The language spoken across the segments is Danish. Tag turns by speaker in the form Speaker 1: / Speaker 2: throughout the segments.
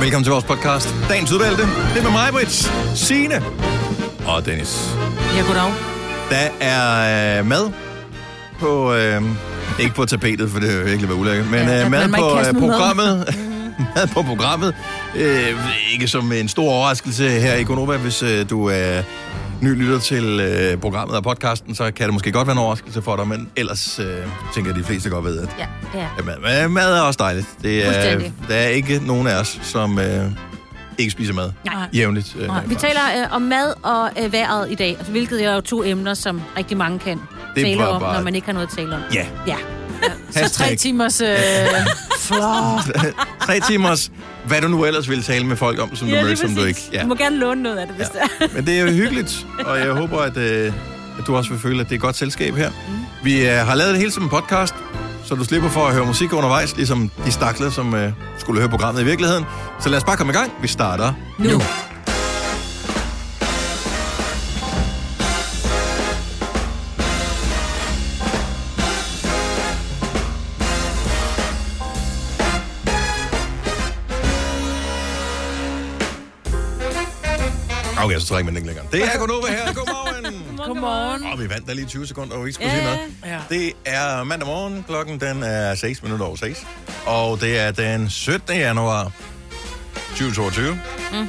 Speaker 1: Velkommen til vores podcast. Dagens udvalgte. Det er med mig, Brits, Signe og Dennis.
Speaker 2: Ja, goddag.
Speaker 1: Der er øh, mad på... Øh, ikke på tapetet, for det vil virkelig være ulækkert, men
Speaker 2: Ja,
Speaker 1: ja,
Speaker 2: at man
Speaker 1: øh, mad,
Speaker 2: må ikke
Speaker 1: på,
Speaker 2: kaste
Speaker 1: øh,
Speaker 2: med mad.
Speaker 1: programmet, mad på programmet. Øh, ikke som en stor overraskelse her i Konoba, hvis øh, du er ny lytter til øh, programmet og podcasten, så kan det måske godt være en overraskelse for dig, men ellers øh, tænker jeg, de fleste godt ved, at
Speaker 3: Ja, det er.
Speaker 1: Ja, mad, mad, mad er også dejligt. Det er,
Speaker 3: Fuldstændig.
Speaker 1: der er ikke nogen af os, som øh, ikke spiser mad
Speaker 3: Nej.
Speaker 1: jævnligt. Øh,
Speaker 3: Vi taler øh, om mad og øh, vejret i dag, hvilket er jo to emner, som rigtig mange kan
Speaker 1: Det
Speaker 3: tale
Speaker 1: var
Speaker 3: om,
Speaker 1: bare-
Speaker 3: når man ikke har noget at tale om.
Speaker 1: Ja,
Speaker 3: Ja.
Speaker 2: Så tre
Speaker 1: hashtag.
Speaker 2: timers... Øh, flot.
Speaker 1: tre timers, hvad du nu ellers ville tale med folk om, som du mødte, som du ikke.
Speaker 3: Du
Speaker 1: Ja.
Speaker 3: må gerne låne noget af det, hvis
Speaker 1: Ja.
Speaker 3: ja. det er.
Speaker 1: Men det er jo hyggeligt, og jeg håber, at, øh, at du også vil føle, at det er et godt selskab her.
Speaker 3: Mm.
Speaker 1: Vi øh, har lavet det hele som en podcast, så du slipper for at høre musik undervejs, ligesom de stakler, som øh, skulle høre programmet i virkeligheden. Så lad os bare komme i gang. Vi starter
Speaker 2: Nu.
Speaker 1: Okay, så trækker man den ikke længere. Det er Gunova her. Godmorgen.
Speaker 2: Godmorgen.
Speaker 1: Og vi vandt da lige 20 sekunder, og vi ikke skulle sige
Speaker 3: Ja.
Speaker 1: noget.
Speaker 2: Ja.
Speaker 1: Det er mandag morgen. Klokken den er 6 minutter over 6. Og det er den 17. januar 2022.
Speaker 2: Mm-hmm.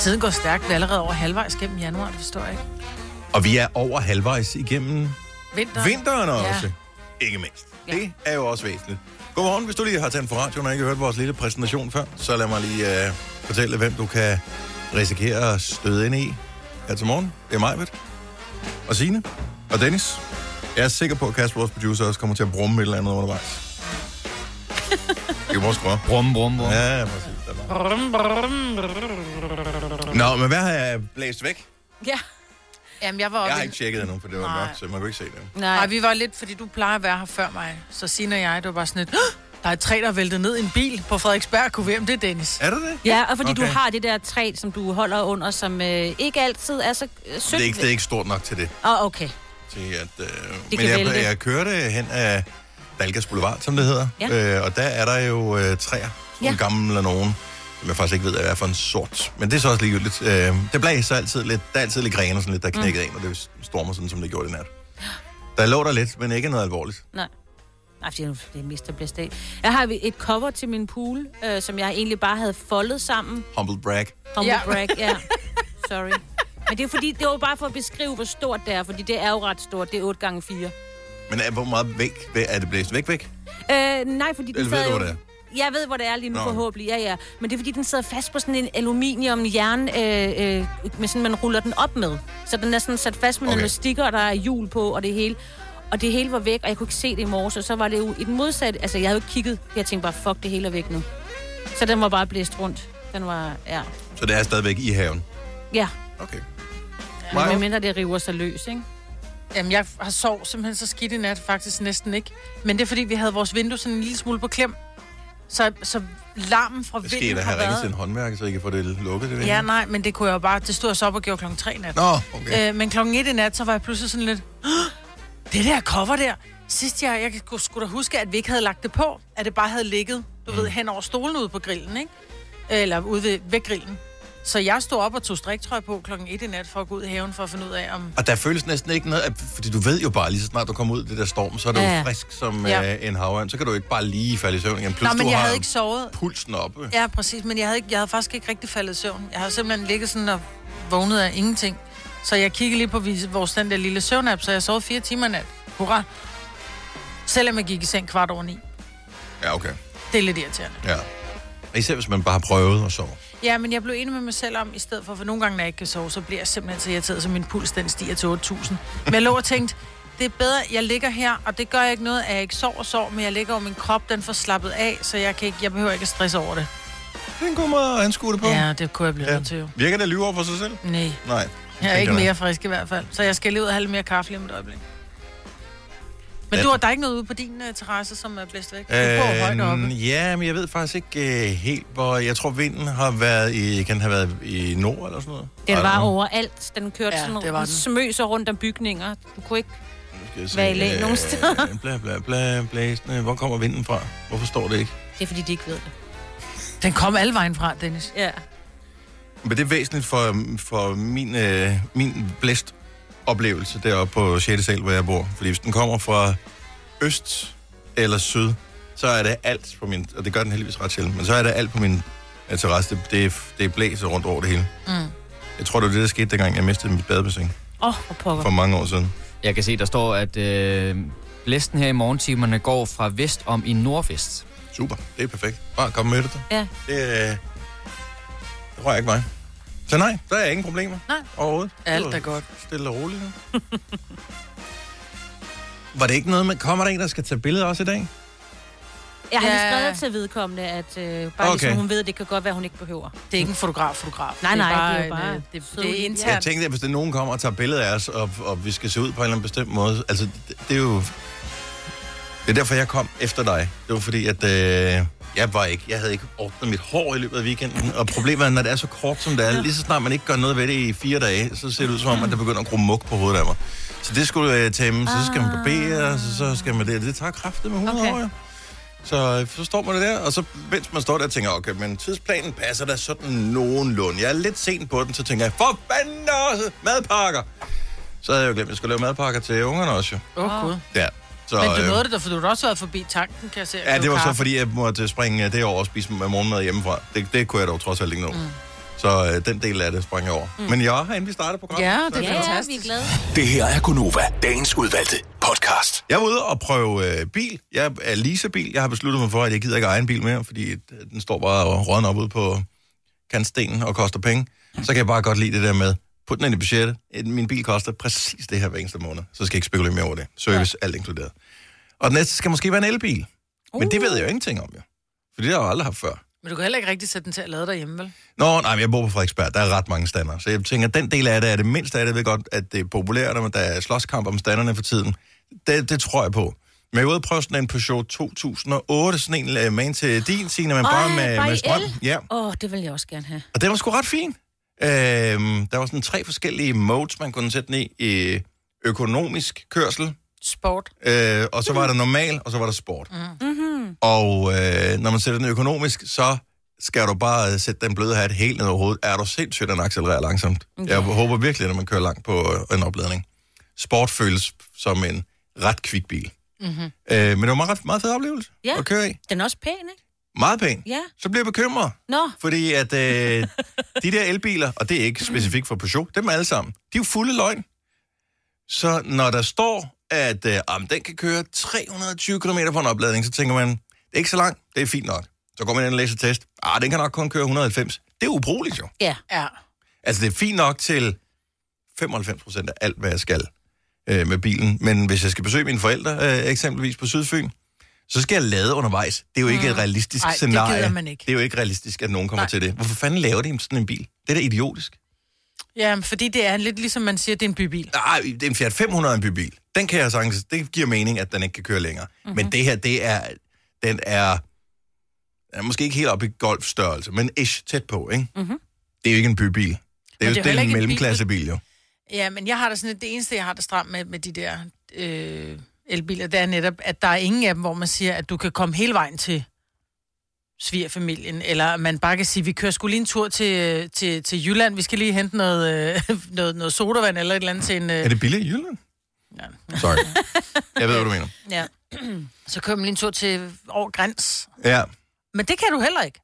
Speaker 2: Tiden går stærkt. Vi er allerede over halvvejs gennem januar, det forstår jeg ikke.
Speaker 1: Og vi er over halvvejs igennem
Speaker 2: Vinter.
Speaker 1: vinteren
Speaker 2: Ja.
Speaker 1: også. Ikke mindst. Det er jo også væsentligt. Godmorgen, hvis du lige har tændt for radioen og ikke har hørt vores lille præsentation før, så lad mig lige øh, fortælle, hvem du kan risikere at støde ind i her til morgen. Det er mig, og Signe og Dennis. Jeg er sikker på, at Kasper, vores producer, også kommer til at brumme et eller andet undervejs. Det kan vores skrue.
Speaker 4: Brum, brum, brum. Ja.
Speaker 1: Ja, ja, præcis. Den er- Nå, men hvad har jeg blæst væk?
Speaker 3: Ja.
Speaker 2: Jamen, jeg var
Speaker 1: Jeg har
Speaker 2: oppe...
Speaker 1: ikke tjekket endnu, for det var
Speaker 2: Nej.
Speaker 1: mørkt, så man kunne ikke se det.
Speaker 2: Nej,
Speaker 3: Nej, vi...
Speaker 2: vi var lidt, fordi du plejer at være her før mig. Så Signe og jeg, det var bare sådan et... "Åh, Der er et træ, der væltede ned i en bil på Frederiksberg. Kunne vi om det, er Dennis?
Speaker 1: Er det det?
Speaker 3: ja, og fordi okay. du
Speaker 1: Okay.
Speaker 3: har det der træ, som du holder under, som øh, ikke altid er så øh, sødt.
Speaker 1: Det er ikke, det er ikke stort nok til det.
Speaker 3: Åh, okay.
Speaker 1: til at... Øh,
Speaker 3: Det
Speaker 1: men
Speaker 3: kan
Speaker 1: jeg,
Speaker 3: vælte.
Speaker 1: jeg kørte hen af Dalgas Boulevard, som det hedder.
Speaker 3: Ja.
Speaker 1: Øh, og der er der jo øh, træer. Sådan ja.
Speaker 3: Ja.
Speaker 1: gamle nogen, som jeg faktisk ikke ved, hvad er for en sort. Men det er så også ligegyldigt. Øh, det blæser altid lidt. Der er altid lidt grene og sådan lidt, der er knækket mm. ind, og det stormer sådan, som det gjorde i nat. Der lå der lidt, men ikke noget alvorligt.
Speaker 3: Nej. Nej, fordi nu- det er mest, der bliver steg. Jeg har et cover til min pool, øh, som jeg egentlig bare havde foldet sammen.
Speaker 1: Humble brag.
Speaker 3: Humble
Speaker 2: Ja.
Speaker 3: ja. brag, ja. Sorry. Men det er fordi, det var bare for at beskrive, hvor stort det er, fordi det er jo ret stort. Det er 8 gange 4.
Speaker 1: Men er, hvor meget væk, er det blæst væk, væk?
Speaker 3: Øh, nej, fordi den
Speaker 1: Eller ved
Speaker 3: sad
Speaker 1: du,
Speaker 3: jo...
Speaker 1: hvor det
Speaker 3: Jeg ved, hvor det er lige nu,
Speaker 1: Nå.
Speaker 3: Nå. forhåbentlig. Ja, ja. Men det er, fordi den sidder fast på sådan en aluminium-jern, øh, øh, med sådan, man ruller den op med. Så den er sådan sat fast med okay.
Speaker 1: Okay.
Speaker 3: nogle stikker, og der er hjul på, og det hele. Og det hele var væk, og jeg kunne ikke se det i morges, og så var det jo i den modsatte... Altså, jeg havde jo ikke kigget. Jeg tænkte bare, fuck, det hele er væk nu. Så den var bare blæst rundt. Den var... Ja.
Speaker 1: Så det er stadigvæk i haven.
Speaker 3: Ja,
Speaker 1: Okay.
Speaker 3: men
Speaker 1: Maja?
Speaker 3: medmindre det river sig løs, ikke?
Speaker 2: Jamen, jeg har sov simpelthen så skidt i nat, faktisk næsten ikke. Men det er, fordi vi havde vores vindue sådan en lille smule på klem. Så, så larmen fra
Speaker 1: Hvad
Speaker 2: vinden
Speaker 1: skal I da
Speaker 2: har
Speaker 1: have ringet til en
Speaker 2: været...
Speaker 1: håndværker, så I kan få det lukket? Det
Speaker 2: Ja,
Speaker 1: der?
Speaker 2: nej, men det kunne jeg jo bare... Det stod jeg så op og gjorde klokken 3 i nat.
Speaker 1: Nå, okay.
Speaker 2: Øh, men klokken 1 i nat, så var jeg pludselig sådan lidt... "Åh, Det der cover der. Sidst jeg, jeg kunne- skulle da huske, at vi ikke havde lagt det på. At det bare havde ligget,
Speaker 1: Mm.
Speaker 2: du ved, hen over stolen ude på grillen, ikke? Eller ude ved, ved grillen. Så jeg stod op og tog striktrøje på klokken 1 i nat for at gå ud i haven for at finde ud af, om...
Speaker 1: Og der føles næsten ikke noget, af- fordi du ved jo bare, lige så snart du kommer ud i det der storm, så er du ja,
Speaker 3: Ja,
Speaker 1: ja.
Speaker 3: ja.
Speaker 1: frisk som ja.
Speaker 2: Ja.
Speaker 1: øh, en havørn. Så kan du ikke bare lige falde i søvn igen. Plus,
Speaker 2: Nej, men
Speaker 1: du
Speaker 2: jeg
Speaker 1: har
Speaker 2: havde ikke sovet.
Speaker 1: pulsen oppe. Ja.
Speaker 2: Ja, præcis, men jeg havde, ikke, jeg havde faktisk ikke rigtig faldet i søvn. Jeg havde simpelthen ligget sådan og vågnet af ingenting. Så jeg kiggede lige på vis- vores den der lille søvnap, så jeg sov fire timer i nat. Hurra. Selvom jeg gik i seng kvart over ni.
Speaker 1: ja, okay.
Speaker 2: Det er lidt irriterende.
Speaker 1: Ja. Og Især hvis man bare har prøvet at sove.
Speaker 2: Ja, men jeg blev enig med mig selv om, i stedet for, for nogle gange, når jeg ikke kan sove, så bliver jeg simpelthen så irriteret, så min puls den stiger til 8.000. Men jeg lå og tænkte, det er bedre, jeg ligger her, og det gør jeg ikke noget, at jeg ikke sover og sover, men jeg ligger over min krop, den får slappet af, så jeg, kan ikke, jeg behøver ikke at stresse over det.
Speaker 1: Det er en god måde at anskue det på.
Speaker 2: Ja, det kunne jeg blive nødt til jo.
Speaker 1: Virker det at lyve over for sig selv?
Speaker 2: Nej.
Speaker 1: Nej.
Speaker 2: Jeg er ikke
Speaker 1: tænker
Speaker 2: mere frisk i hvert fald. Så jeg skal lige ud og have lidt mere kaffe lige om et øjeblik. Men
Speaker 1: Ja.
Speaker 2: du har der er ikke noget ude på din uh, terrasse, som er blæst væk? Du bor højt oppe.
Speaker 1: Øh, ja, men jeg ved faktisk ikke øh, helt, hvor... Jeg tror, vinden har været i... Kan den have været i nord eller sådan noget?
Speaker 3: Den
Speaker 1: I don't
Speaker 3: var
Speaker 1: know.
Speaker 3: overalt. Den kørte
Speaker 2: Ja,
Speaker 3: ja,
Speaker 2: det
Speaker 3: sådan
Speaker 2: var
Speaker 3: den
Speaker 2: den.
Speaker 3: smøg sig rundt om bygninger. Du kunne ikke...
Speaker 1: Nu skal jeg se,
Speaker 3: Hvad i lag
Speaker 1: øh,
Speaker 3: nogen steder?
Speaker 1: Bla, bla, bla, blæsende. Hvor kommer vinden fra? Hvorfor står det ikke?
Speaker 3: Det er fordi, de ikke ved det.
Speaker 2: Den kom alle vejen fra, Dennis.
Speaker 3: Ja.
Speaker 1: Men det er væsentligt for, for min, øh, min blæst oplevelse deroppe på 6. sal, hvor jeg bor. Fordi hvis den kommer fra øst eller syd, så er det alt på min... Og det gør den heldigvis ret sjældent. Men så er det alt på min øh, terrasse. Det, det, er- det blæser rundt over det hele. Mm. Jeg tror, det var det, der skete, dengang jeg mistede mit badebassin
Speaker 3: Åh, oh, hvor pokker.
Speaker 1: for mange år siden.
Speaker 4: Jeg kan se, der står, at øh, blæsten her i morgentimerne går fra vest om i nordvest.
Speaker 1: Super. Det er perfekt. Bare kom med det.
Speaker 3: Ja.
Speaker 1: Det, øh, det rører ikke mig. Så nej, der er ingen problemer.
Speaker 2: Nej.
Speaker 1: Overhovedet.
Speaker 2: Alt
Speaker 1: Det
Speaker 2: er
Speaker 1: var
Speaker 2: godt.
Speaker 1: Stille og roligt. nu. Var det ikke noget med, kommer der en, der skal tage billeder også i dag?
Speaker 3: Jeg har lige
Speaker 2: Ja.
Speaker 3: skrevet til vedkommende, at øh, bare okay.
Speaker 1: Okay.
Speaker 3: ligesom hun ved, at det kan godt være, hun ikke behøver.
Speaker 2: Det er ikke en fotograf-fotograf.
Speaker 3: Nej, nej,
Speaker 2: det er bare...
Speaker 3: det er jo bare
Speaker 2: en, øh, det,
Speaker 3: søde
Speaker 2: det er
Speaker 3: lille-
Speaker 1: Ja. Jeg
Speaker 2: internt.
Speaker 1: tænkte, at hvis der nogen kommer og tager billeder af os, og, og vi skal se ud på en eller anden bestemt måde, altså, det, det er jo... Det er derfor, jeg kom efter dig. Det var fordi, at øh, jeg var ikke... Jeg havde ikke ordnet mit hår i løbet af weekenden, og problemet er, når det er så kort, som det er, lige så snart man ikke gør noget ved det i fire dage, så ser det ud som om, at der begynder at gro muk på hovedet af mig. Så det skulle jeg tæmme, så skal man
Speaker 2: Ah.
Speaker 1: barbere, så, så skal man det. Det tager kraftigt med 100 okay.
Speaker 3: Okay.
Speaker 1: år, jo. Så, øh, så står man det der, og så mens man står der og tænker, okay, men tidsplanen passer da sådan nogenlunde. Jeg er lidt sent på den, så tænker jeg, for fanden også, madpakker. Så havde jeg jo glemt, at jeg skulle lave madpakker til ungerne også. jo.
Speaker 2: Åh, oh, gud.
Speaker 1: Ja. Så,
Speaker 2: Men du
Speaker 1: øh,
Speaker 2: nåede det da, for du har også været forbi tanken, kan jeg se.
Speaker 1: Ja, det var så, fordi jeg måtte springe øh, det over og spise med morgenmad hjemmefra. Det, det kunne jeg dog trods alt ikke nå. Mm. Så øh, den del af det sprang jeg over. Mm. Men jeg har inden vi starter programmet.
Speaker 2: Ja,
Speaker 1: så
Speaker 2: det er
Speaker 1: godt.
Speaker 2: fantastisk.
Speaker 3: vi er glade.
Speaker 5: Det her er Gunova, dagens udvalgte podcast.
Speaker 1: Jeg var ude og prøve øh, bil. Jeg er leasebil. Jeg har besluttet mig for, at jeg gider ikke eje en bil mere, fordi øh, den står bare og rådner op ude på kantstenen og koster penge. Så kan jeg bare godt lide det der med, put den ind i budgettet. Øh, Min bil koster præcis det her hver eneste måned. Så skal jeg ikke spekulere mere over det. Service, alt inkluderet. Og den næste skal måske være en elbil. Men det ved jeg jo ingenting om, jo. For det har jeg jo aldrig haft før.
Speaker 2: Men du kan heller ikke rigtig sætte den til at lade derhjemme, vel?
Speaker 1: Nå, nej, men jeg bor på Frederiksberg. Der er ret mange stander. Så jeg tænker, den del af det er det mindste af det. Jeg ved godt, at det er populært, og der er slåskamp om standerne for tiden. Det, det tror jeg på. Men jeg er ude at prøve sådan en Peugeot 2008, sådan en øh, man til din, Signe, men bare
Speaker 3: Ej,
Speaker 1: med,
Speaker 3: bare
Speaker 1: med
Speaker 3: i
Speaker 1: strøm.
Speaker 3: el?
Speaker 1: Ja,
Speaker 3: Åh, oh, det vil jeg også gerne have.
Speaker 1: og den var sgu ret fin. Øhm, der var sådan tre forskellige modes, man kunne sætte den i. Øh, økonomisk kørsel,
Speaker 2: Sport.
Speaker 1: Øh, og så var der normal, og så var der sport. Mm-hmm. Og øh, når man sætter den økonomisk, så skal du bare øh, sætte den bløde hat helt ned over hovedet. Er du sindssygt, at den accelererer langsomt? Jeg håber virkelig, at man kører langt på øh, en opladning. Sport føles som en ret kvik bil. Mm-hmm. Øh, men det var en meget, meget fed oplevelse
Speaker 3: Ja.
Speaker 1: at køre i.
Speaker 3: Den er også pæn, ikke?
Speaker 1: Meget pæn.
Speaker 3: Ja.
Speaker 1: Så bliver jeg bekymret,
Speaker 3: Nå,
Speaker 1: fordi at øh, de der elbiler, og det er ikke specifikt for Peugeot, dem alle sammen, de er jo fulde løgn. Så når der står, at øh, om den kan køre 320 km på en opladning, så tænker man, det er ikke så langt, det er fint nok. Så går man ind og læser test. Ah, den kan nok kun køre 190. Det er ubrugeligt jo.
Speaker 3: ja.
Speaker 2: Ja.
Speaker 1: Altså, det er fint nok til 95 procent af alt, hvad jeg skal øh, med bilen. Men hvis jeg skal besøge mine forældre, øh, eksempelvis på Sydfyn, så skal jeg lade undervejs. Det er jo ikke et realistisk
Speaker 2: Ej, Mm. det
Speaker 1: scenarie.
Speaker 2: gider man ikke.
Speaker 1: Det er jo ikke realistisk, at nogen kommer Nej.
Speaker 2: Nej.
Speaker 1: til det. Hvorfor fanden laver de sådan en bil? Det er da idiotisk.
Speaker 2: Ja, men fordi det er lidt ligesom man siger, det er en bybil.
Speaker 1: Nej, det er en Fiat 500 er en bybil. Den kan jeg sagtens, det giver mening, at den ikke kan køre længere.
Speaker 2: Mhm.
Speaker 1: Mm-hmm. Men det her, det er, den er, den er måske ikke helt op i golfstørrelse, men ish tæt på, ikke? Mm-hmm. Det er jo ikke en bybil. Det er,
Speaker 2: Mm. er
Speaker 1: jo,
Speaker 2: jo
Speaker 1: det
Speaker 2: heller
Speaker 1: er
Speaker 2: ikke en
Speaker 1: en
Speaker 2: bil, du-
Speaker 1: mellemklassebil, jo.
Speaker 2: Ja, men jeg har da sådan lidt, det eneste, jeg har der stramt med, med de der øh, elbiler, det er netop, at der er ingen af dem, hvor man siger, at du kan komme hele vejen til svigerfamilien, eller man bare kan sige, vi kører skulle lige en tur til, til, til Jylland, vi skal lige hente noget, øh, noget, noget sodavand eller et eller andet til en...
Speaker 1: Er
Speaker 2: Øh,
Speaker 1: det billigt i Jylland?
Speaker 2: ja.
Speaker 1: Sorry. Jeg ved, hvad du mener.
Speaker 2: ja. Så kører man lige en tur til over græns.
Speaker 1: Ja.
Speaker 2: Men det kan du heller ikke.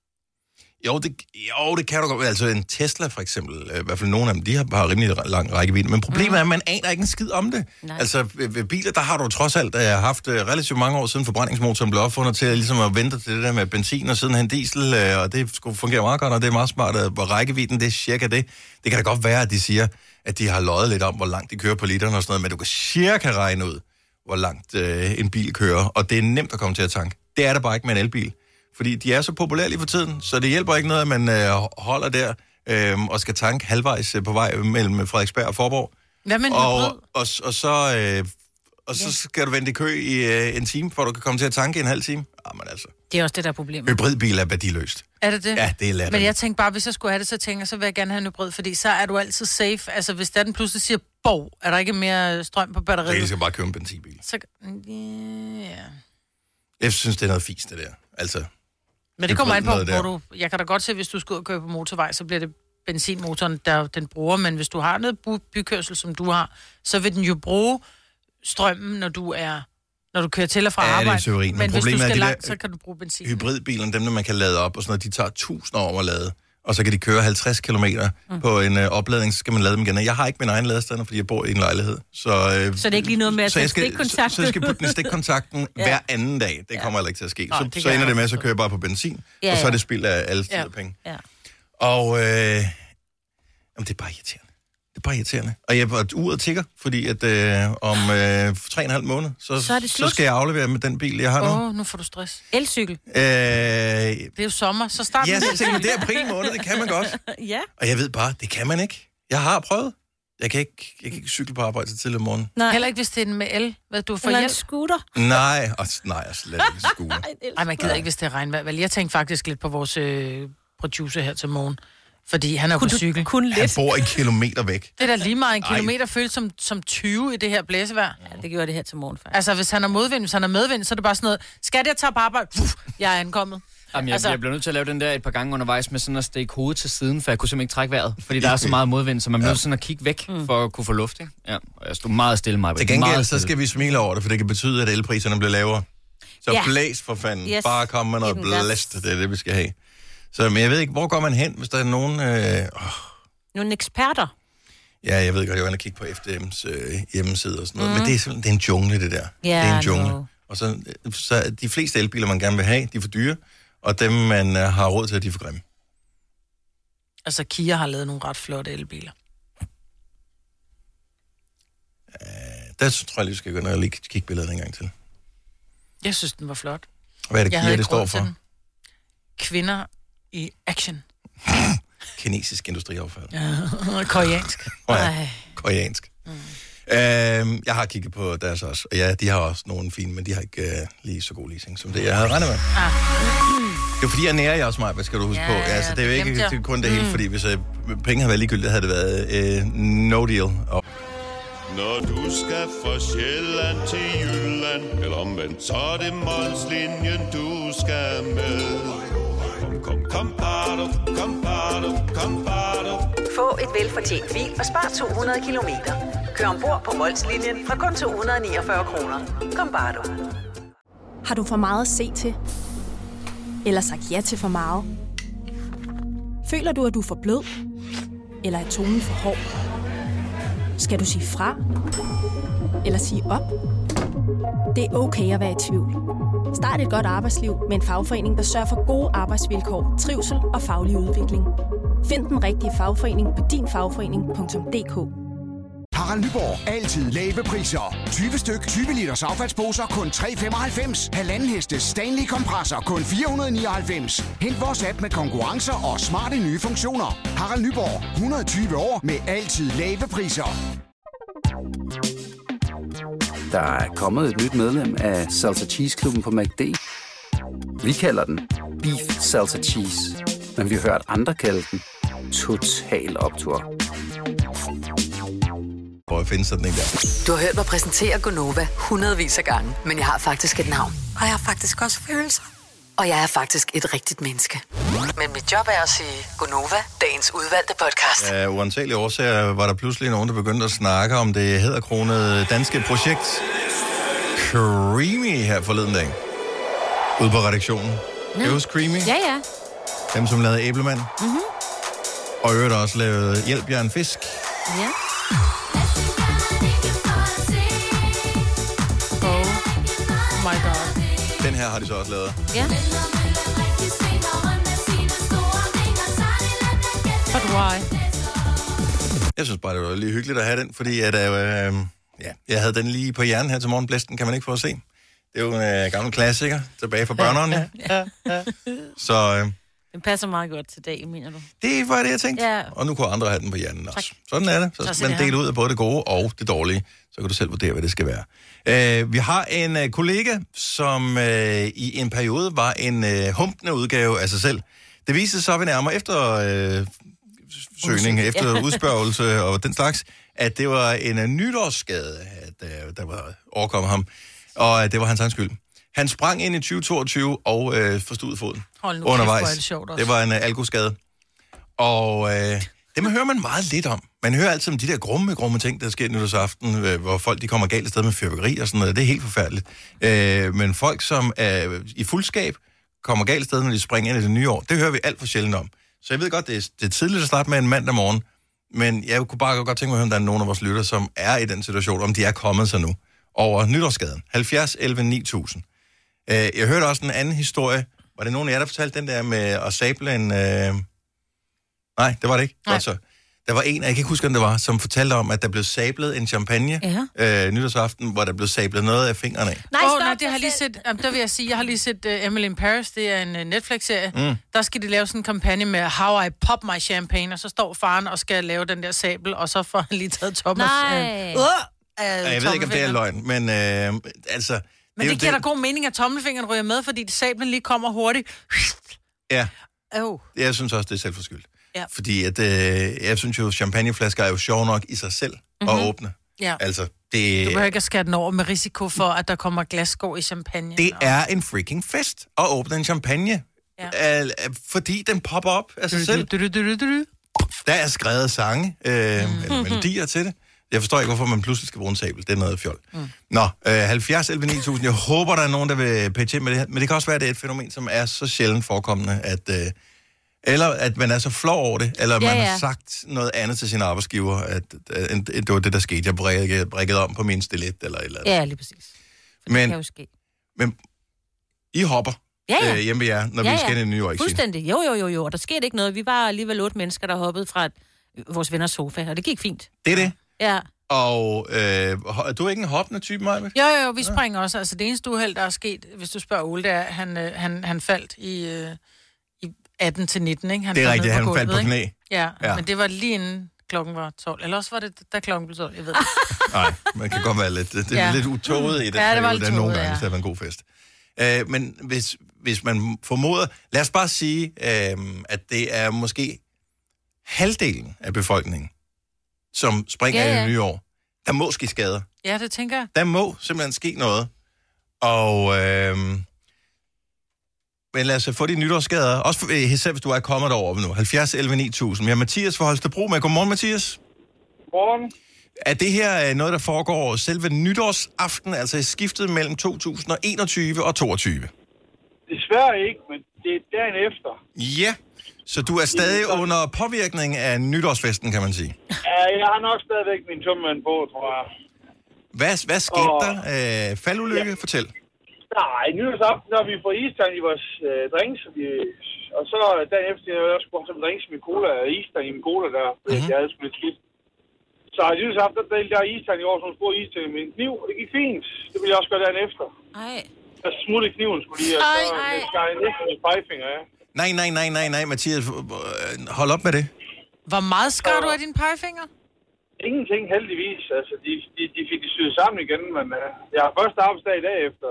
Speaker 1: Jo, det, jo, det kan du godt. Altså en Tesla for eksempel, øh, i hvert fald nogle af dem, de har, har rimelig re- lang rækkevidde. Men problemet mm. er, at man aner ikke en skid om det. Nej.
Speaker 3: Nej.
Speaker 1: Altså ved, ved biler, der har du trods alt øh, haft øh, relativt mange år siden forbrændingsmotoren blev opfundet til at, ligesom at vente til det der med benzin og sidenhen diesel. Øh, og det skulle fungere meget godt, og det er meget smart. Øh, og rækkevidden, det er cirka det. Det kan da godt være, at de siger, at de har løjet lidt om, hvor langt de kører på literen og sådan noget. Men du kan cirka regne ud, hvor langt øh, en bil kører. Og det er nemt at komme til at tanke. Det er der bare ikke med en elbil. Fordi de er så populære lige for tiden, så det hjælper ikke noget, at man øh, holder der øh, og skal tanke halvvejs øh, på vej mellem Frederiksberg og Forborg.
Speaker 2: Hvad med en hybrid?
Speaker 1: Og, og, s- og så... Øh, og så skal du vente i kø i øh, en time, for du kan komme til at tanke i en halv time. Jamen altså,
Speaker 3: Det er også det, der er problemet.
Speaker 1: hybridbil er værdiløst.
Speaker 2: Er det det?
Speaker 1: Ja, det er latterligt.
Speaker 2: Men jeg tænkte bare, hvis jeg skulle have det, så tænker jeg, så vil jeg gerne have en hybrid, fordi så er du altid safe. Altså, hvis der den pludselig siger, bog, er der ikke mere øh, strøm på
Speaker 1: Rigtig
Speaker 2: batteriet?
Speaker 1: skal bare købe en
Speaker 3: Mm.
Speaker 1: benzinbil.
Speaker 2: Så, ja.
Speaker 1: Jeg synes, det er noget fisk, det der. Altså,
Speaker 2: Men det kommer an på,
Speaker 1: hybridlader
Speaker 2: hvor du... Jeg kan da godt se, hvis du skal ud og køre på motorvej, så bliver det benzinmotoren, der den bruger. Men hvis du har noget bu- bykørsel, som du har, så vil den jo bruge strømmen, når du er når du kører til og fra
Speaker 1: Ja, det er
Speaker 2: arbejde.
Speaker 1: teorien, men
Speaker 2: Men hvis du
Speaker 1: problemet er,
Speaker 2: skal
Speaker 1: de der-
Speaker 2: langt, så kan du bruge benzin.
Speaker 1: Hybridbilerne, dem der man kan lade op og sådan noget, de tager 1000 år at lade. Og så kan de køre 50 km mm. på en øh, opladning, så skal man lade dem igen. Og Jeg har ikke min egen ladestander, fordi jeg bor i en lejlighed. Så, øh,
Speaker 3: Så det er ikke lige noget med at
Speaker 1: så,
Speaker 3: tage
Speaker 1: jeg skal, så,
Speaker 3: stikkontakten.
Speaker 1: så jeg skal putte den i stikkontakten ja.
Speaker 3: Ja.
Speaker 1: hver anden dag. Det kommer heller ikke til at ske.
Speaker 2: Nej,
Speaker 1: Så,
Speaker 2: det kan
Speaker 1: så ender
Speaker 2: jeg
Speaker 1: det med, at
Speaker 2: også
Speaker 1: så kører jeg bare på benzin,
Speaker 3: Ja,
Speaker 1: og så er
Speaker 3: ja.
Speaker 1: det spild af alle ja.
Speaker 2: Ja.
Speaker 1: penge.
Speaker 3: Ja.
Speaker 1: Og øh, jamen, det er bare irriterende. Det er bare irriterende. Og jeg var uret tigger, fordi at øh, om øh, tre og en halv måned, så,
Speaker 3: Så er det
Speaker 1: så
Speaker 3: slut.
Speaker 1: skal jeg aflevere med den bil, jeg har nu.
Speaker 2: Åh, oh, nu får du stress.
Speaker 3: Elcykel.
Speaker 1: Øh,
Speaker 2: Det er jo sommer, så start
Speaker 1: Ja,
Speaker 2: med
Speaker 1: så
Speaker 2: benzin.
Speaker 1: tænkte jeg, det er april måned, det kan man godt.
Speaker 3: Ja.
Speaker 1: Og jeg ved bare, det kan man ikke. Jeg har prøvet. Jeg kan ikke, jeg kan ikke cykle på arbejde til tidlig om morgenen.
Speaker 3: Nej.
Speaker 2: Heller ikke, hvis det er med el, hvad du får
Speaker 3: Eller en
Speaker 2: hjælp.
Speaker 3: scooter.
Speaker 1: Nej, og, s- nej, jeg slet ikke skue.
Speaker 2: Nej, man gider ikke, hvis det er regnvejr. Vel, jeg tænkte faktisk lidt på vores øh, producer her til morgen, fordi han er på cykel.
Speaker 3: Kun
Speaker 1: Han
Speaker 3: lidt.
Speaker 1: bor en kilometer væk.
Speaker 2: Det er da lige meget en
Speaker 1: Ej.
Speaker 2: kilometer føles som, som 20 i det her blæsevejr.
Speaker 3: Ja, det gjorde det her til morgen, faktisk.
Speaker 2: Altså, hvis han er modvind, hvis han er medvind, så er det bare sådan noget, skat, jeg tager på arbejde, Puff, jeg er ankommet.
Speaker 4: Jamen, jeg, altså...
Speaker 2: Altså-
Speaker 4: jeg blev nødt til at lave den der et par gange undervejs med sådan at stikke hovedet til siden, for jeg kunne simpelthen ikke trække vejret, fordi der er så meget modvind, så man bliver nødt til sådan at kigge væk mm. for at kunne få luft. Ikke? Ja, og jeg stod meget stille, mig.
Speaker 1: Til gengæld, så skal vi smile over det, for det kan betyde, at elpriserne bliver lavere. Så
Speaker 3: Ja.
Speaker 1: blæs for fanden.
Speaker 3: Yes.
Speaker 1: Bare kom med noget
Speaker 3: Giv den gas.
Speaker 1: blæst. Det er det, vi skal have. Så, men jeg ved ikke, hvor går man hen, hvis der er nogen... Øh, åh,
Speaker 3: Nogle eksperter.
Speaker 1: ja, jeg ved godt, jeg var inde og kigge på FDM's øh, hjemmeside og sådan
Speaker 2: Mhm.
Speaker 1: noget. Mm. Men det er simpelthen det er en jungle, det der.
Speaker 3: Ja,
Speaker 1: det er en jungle.
Speaker 3: no.
Speaker 1: Og så, så de fleste elbiler, man gerne vil have, de er for dyre. Og dem, man øh, har råd til, de er for grimme.
Speaker 2: Altså, Kia har lavet nogle ret flotte elbiler.
Speaker 1: Der tror jeg lige, vi skal gå ind og lige kigge billedet en gang til.
Speaker 2: Jeg synes, den var flot.
Speaker 1: Hvad er det,
Speaker 2: Jeg havde
Speaker 1: Kia, det
Speaker 2: ikke
Speaker 1: står
Speaker 2: råd til
Speaker 1: for?
Speaker 2: den. Kvinder i action.
Speaker 1: Kinesisk industriaffald. Ja.
Speaker 2: Koreansk.
Speaker 1: ja. Koreansk. Mm. Øhm, jeg har kigget på deres også. Og ja, de har også nogle fine, men de har ikke øh, lige så god leasing som det, jeg havde regnet med. Ah. Det er fordi, jeg nærer jer også mig, hvad skal du huske
Speaker 2: Ja,
Speaker 1: på?
Speaker 2: ja,
Speaker 1: Altså, det er jo
Speaker 2: det
Speaker 1: ikke
Speaker 2: glemte jeg.
Speaker 1: det er kun det hele, fordi hvis øh, penge havde været ligegyldigt, havde det været øh, no deal. Og
Speaker 6: Når du skal fra Sjælland til Jylland Eller omvendt, så er det Molslinjen, du skal med Kom, kom, kom, bado, kom, bado, kom, bado.
Speaker 7: Få et velfortjent bil og spar 200 kilometer. Kør ombord på Molslinjen fra kun 249 kroner. Kom bare du.
Speaker 8: Har du for meget at se til? Eller sagt ja til for meget? Føler du, at du er for blød? Eller er tonen for hård? Skal du sige fra? Eller sige op? Det er okay at være i tvivl. Start et godt arbejdsliv med en fagforening, der sørger for gode arbejdsvilkår, trivsel og faglig udvikling. Find den rigtige fagforening på dinfagforening.dk.
Speaker 9: Harald Nyborg. Altid lave priser. 20 styk, 20 liters affaldsposer kun 3,95. Halvanden heste Stanley kompresser kun 499. Hent vores app med konkurrencer og smarte nye funktioner. Harald Nyborg. 120 år med altid lave priser.
Speaker 10: Der er kommet et nyt medlem af Salsa Cheese Klubben på MACD. Vi kalder den Beef Salsa Cheese, men vi har hørt andre kalde den Total Optor.
Speaker 1: prøv at finde sådan en der.
Speaker 7: Du har hørt mig præsentere Gonova hundredvis af gange, men jeg har faktisk et navn.
Speaker 11: Og jeg har faktisk også følelser.
Speaker 7: Og jeg er faktisk et rigtigt menneske. Men mit job er at sige Gonova, dagens udvalgte podcast. Ja.
Speaker 1: Af uantagelige årsager var der pludselig nogen, der begyndte at snakke om det hedderkronede danske projekt Creamy her forleden dag. Ude på redaktionen. Kan du huske Creamy?
Speaker 3: Ja, ja.
Speaker 1: Dem, som lavede Æblemand. Mm-hmm. Og i øvrigt også lavede Hjælp Jørgen Fisk.
Speaker 3: ja.
Speaker 2: Oh my god.
Speaker 1: Den her har de så også lavet.
Speaker 2: But why?
Speaker 1: Jeg synes bare, det var lige hyggeligt at have den, fordi at, øh, ja, jeg havde den lige på hjernen her til morgen. Blæsten kan man ikke få at se. Det er jo en øh, gammel klassiker tilbage fra børnerne. Så øh,
Speaker 3: Den passer meget godt til dag, mener du?
Speaker 1: Det var det, jeg tænkte.
Speaker 3: Ja.
Speaker 1: Og nu kunne andre have den på hjernen også. Sådan er det. Så
Speaker 2: Tak
Speaker 1: skal
Speaker 2: skal
Speaker 1: man
Speaker 2: I
Speaker 1: dele ud af både det gode og det dårlige. Så kan du selv vurdere, hvad det skal være. Øh, vi har en øh, kollega, som øh, i en periode var en øh, humpende udgave af sig selv. Det viste sig ved nærmere efter øh, søgning, efter udspørgelse og den slags, at det var en øh, nytårsskade, at, øh, der var overkommet ham. Og at det var hans egen skyld. Han sprang ind i 2022 og øh, forstod foden
Speaker 2: Hold nu kæft, hvor er det sjovt også.
Speaker 1: det var en øh, alkoskade. Og øh, dem hører man meget lidt om. Man hører altid om de der grumme, grumme ting, der sker nytårsaften, øh, hvor folk de kommer galt afsted med fyrværkeri og sådan noget. Det er helt forfærdeligt. Øh, men folk, som er i fuldskab, kommer galt afsted, når de springer ind i det nye år, det hører vi alt for sjældent om. Så jeg ved godt, det er, det er tidligt at starte med en mandag morgen, men jeg kunne bare godt tænke mig at høre, om der er nogen af vores lytter, som er i den situation, om de er kommet sig nu over nytårsskaden. 70 11 9000. Øh, jeg hørte også en anden historie. Var det nogen af jer, der fortalte den der med at sable en... Øh... Nej, det var det ikke. Godt så. Der var en, jeg kan ikke huske, om det var, som fortalte om, at der blev sablet en champagne ja. øh, nytårsaften, hvor der blev sablet noget af fingrene af.
Speaker 2: Nej, oh, nej, det har jeg lige set, jamen, der vil jeg sige, jeg har lige set uh, Emily in Paris, det er en uh, Netflix-serie.
Speaker 1: Mm.
Speaker 2: Mm. Der skal de lave sådan en kampagne med How I Pop My Champagne, og så står faren og skal lave den der sabel, og så får han lige taget Thomas.
Speaker 1: Nej.
Speaker 2: Øh, uh, øh,
Speaker 1: Ja, jeg ved ikke, om det er løgn, men øh, altså...
Speaker 2: Men
Speaker 1: er
Speaker 2: det,
Speaker 1: jo
Speaker 2: det giver da god mening, at tommelfingeren ryger med, fordi sablen lige kommer hurtigt.
Speaker 1: Ja,
Speaker 2: Oh.
Speaker 1: jeg synes også, det er selvforskyldt.
Speaker 2: Ja.
Speaker 1: Fordi at, øh, jeg synes jo, champagneflasker er jo sjov nok i sig selv mm-hmm. at åbne.
Speaker 2: Mhm. Ja.
Speaker 1: Altså, det...
Speaker 2: Du behøver ikke at skære den over med risiko for, at der kommer glasskår i champagne.
Speaker 1: Det er en freaking fest at åbne en champagne. Ja. Al, fordi den popper op af sig selv. Der er skrevet sange, øh, eller melodier til det. Jeg forstår ikke, hvorfor man pludselig skal bruge en sabel. Det er noget fjol. Mm. Nå, øh, 70 11 9000. Jeg håber, der er nogen, der vil pitche ind med det her. Men det kan også være, at det er et fænomen, som er så sjældent forekommende, at... Øh, eller at man er så flov over det, eller ja,
Speaker 11: Ja,
Speaker 1: man ja. har
Speaker 11: ja.
Speaker 1: sagt noget andet til sin arbejdsgiver, at, at, at det var det, der skete. Jeg brækkede, brækkede om på min stilet, eller et eller andet.
Speaker 3: Ja, lige præcis. For
Speaker 1: Men-
Speaker 3: det kan jo ske.
Speaker 1: Men I hopper
Speaker 3: Ja, ja.
Speaker 1: Øh, hjemme ved jer, når
Speaker 3: ja,
Speaker 1: vi skal ind i New York City.
Speaker 3: Fuldstændig. Jo, jo, jo, jo. Og der skete ikke noget. Vi var alligevel otte mennesker, der hoppede fra et, vores venners sofa, og det gik fint.
Speaker 1: Det er det.
Speaker 3: Ja.
Speaker 1: Og øh, ho- er du ikke en hoppende type, Maja?
Speaker 2: Jo, jo, jo, vi springer også. Altså, det eneste uheld, der er sket, hvis du spørger Ole, det er, at han, øh, han, han faldt i, øh, i 18 til 19, ikke? Han
Speaker 1: Det er
Speaker 2: faldt
Speaker 1: rigtigt,
Speaker 2: ned
Speaker 1: han
Speaker 2: gulvet,
Speaker 1: faldt på
Speaker 2: ikke?
Speaker 1: knæ.
Speaker 2: Ja,
Speaker 1: Ja.
Speaker 2: ja, men det var lige inden klokken var 12. Eller også var det, da klokken blev 12, jeg ved det.
Speaker 1: Nej, man kan godt være lidt, det er ja.
Speaker 2: Ja.
Speaker 1: lidt utåget i den
Speaker 2: Ja, det var
Speaker 1: periode,
Speaker 2: lidt
Speaker 1: der nogle
Speaker 2: tåget,
Speaker 1: gange,
Speaker 2: ja.
Speaker 1: så er det en god fest. Øh, men hvis, hvis man formoder, lad os bare sige, øh, at det er måske halvdelen af befolkningen, som springer
Speaker 2: Ja,
Speaker 1: ja, ja.
Speaker 2: ja.
Speaker 1: i det nye år. Der må ske skader.
Speaker 2: Ja, det tænker jeg.
Speaker 1: Der må simpelthen ske noget. Og øh, men lad os få de nytårsskader. Også for, øh, især hvis du er kommet over nu. 70 11 9000. Vi har Mathias fra Holstebro med. Godmorgen, Mathias.
Speaker 12: Godmorgen.
Speaker 1: Er det her øh, noget, der foregår selve nytårsaften, altså i skiftet mellem 2021 og 22?
Speaker 12: Desværre ikke, men det er dagen efter.
Speaker 1: Ja. Så du er stadig under påvirkning af nytårsfesten, kan man sige.
Speaker 12: Ja, jeg har nok stadigvæk min tømmermand på, tror jeg.
Speaker 1: Hvad, hvad skete
Speaker 12: Åh.
Speaker 1: der? Øh, faldulykke? Ja. Fortæl.
Speaker 12: Nej, nyhedsaften, når vi får istang i vores øh, drinks, og, vi, og så dagen efter, jeg også brugt som drinks med cola og istang i min cola, der mm-hmm. jeg havde smidt skidt. Så nyhedsaften, der delte jeg istang i år, som stor istang med en kniv, og det gik fint. Det ville jeg også gøre dagen efter.
Speaker 3: Ej.
Speaker 12: Jeg smuttede kniven, skulle lige, og
Speaker 3: Ej,
Speaker 12: så øh,
Speaker 3: ej.
Speaker 12: skar jeg næsten med pegefinger, ja.
Speaker 1: Nej, nej, nej, nej, nej, Mathias. øh, Hold op med det.
Speaker 2: Hvor meget skar du af dine pegefinger?
Speaker 12: Ingenting heldigvis. Altså, de, de, de fik det syet sammen igen, men uh, jeg har første arbejdsdag i dag efter.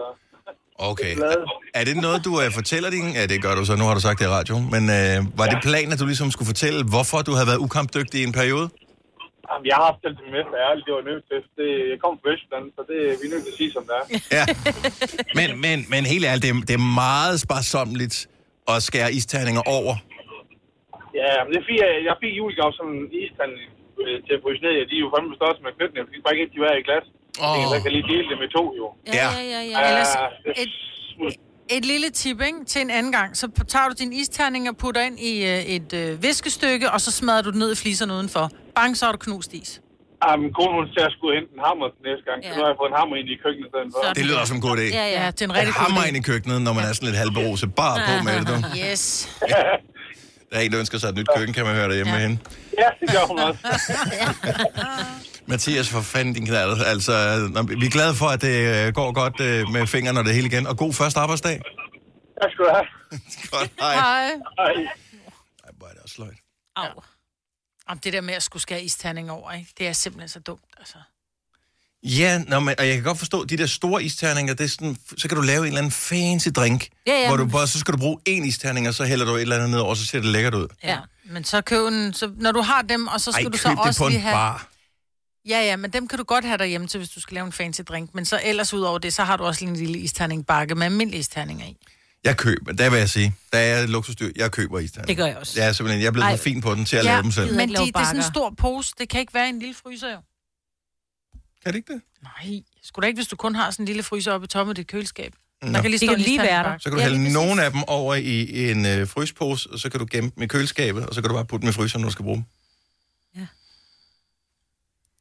Speaker 1: Okay. Er det noget, du øh, fortæller din... Ja, det gør du så. Nu har du sagt det i radioen. Men øh, var det planen, at du ligesom skulle fortælle, hvorfor du havde været ukampdygtig i en periode?
Speaker 12: Jamen, jeg har haft alt det med, for ærligt, det var nødt til. Det, jeg kom fra Vestland, så det vi er nødt til at sige, som det er.
Speaker 1: Ja. Men, men, men helt ærligt, det er, det er meget sparsomligt at skære isterninger over.
Speaker 12: Ja, men det er fordi, jeg, jeg fik julegav som en istand øh, til at fryse ned. i. De er jo fandme største med knytnæv. De kan bare ikke rigtig være i glas. Oh. Jeg kan lige dele det med to, jo.
Speaker 2: Ja, ja, ja. ja. Ellers,
Speaker 12: Ah,
Speaker 2: et, et lille tip ikke? til en anden gang. Så tager du din isterning og putter ind i øh, et øh, viskestykke, og så smadrer du den ned i fliserne udenfor. Bang, så har du knust is.
Speaker 12: Jamen, konen hun sagde, at jeg skulle hente en hammer til næste gang. Ja. Så nu har jeg fået en hammer ind i køkkenet i stedet for.
Speaker 1: Det lyder som en god idé.
Speaker 2: Ja, ja, det er en
Speaker 1: Jeg
Speaker 2: rigtig god
Speaker 1: hammer
Speaker 2: idé.
Speaker 1: ind i køkkenet, når man er sådan lidt halvberuset. Bare Ah, på med det, du.
Speaker 2: Yes.
Speaker 1: Der er en, der ønsker sig et nyt køkken, kan man høre derhjemme ja. med hende.
Speaker 12: Ja, det gør hun også.
Speaker 1: Mathias, for fanden din knald. Altså, nå, vi er glade for, at det øh, går godt øh, med fingrene og det hele igen. Og god første arbejdsdag.
Speaker 12: Tak skal du have.
Speaker 1: godt, hej.
Speaker 2: Hej.
Speaker 12: Hej.
Speaker 1: Det er også løgn.
Speaker 2: Au. Om det der med at skulle skære isterning over, ikke? det er simpelthen så dumt. Altså.
Speaker 1: Ja, nå, men, og jeg kan godt forstå, de der store isterninger, det er sådan, så kan du lave en eller anden fancy drink,
Speaker 2: Ja, ja.
Speaker 1: hvor du bare, så skal du bruge en isterning, og så hælder du et eller andet ned over, og så ser det lækkert ud.
Speaker 2: Ja. Men så køb en, så, når du har dem, og så skal
Speaker 1: Ej,
Speaker 2: du så
Speaker 1: køb det
Speaker 2: også
Speaker 1: på en
Speaker 2: lige have...
Speaker 1: bar.
Speaker 2: Ja, ja, men dem kan du godt have derhjemme til, hvis du skal lave en fancy drink. Men så ellers ud over det, så har du også lige en lille isterningbakke med almindelige isterninger i.
Speaker 1: Jeg køber, der vil jeg sige, der er et luksusdyr, jeg køber isterninger.
Speaker 2: Det gør jeg også.
Speaker 1: Jeg er simpelthen, jeg er blevet
Speaker 2: Ej.
Speaker 1: for fin på den til at lave dem selv.
Speaker 2: men de,
Speaker 3: lave
Speaker 2: det er sådan en
Speaker 3: bakker.
Speaker 2: stor pose. Det kan ikke være i en lille fryser, jo.
Speaker 1: Kan det ikke det?
Speaker 2: Nej, skulle da ikke, hvis du kun har sådan en lille fryser oppe i toppen af dit køleskab. Der
Speaker 1: Nå.
Speaker 2: kan lige
Speaker 3: Det
Speaker 2: stå
Speaker 3: kan
Speaker 2: en
Speaker 3: lige være der.
Speaker 2: isterningbakke.
Speaker 1: Så kan du hælde nogle af dem over i en øh, fryspose, og så kan du gemme dem i køleskabet, og så kan du bare putte dem i fryseren, når du skal bruge dem.
Speaker 3: Ja.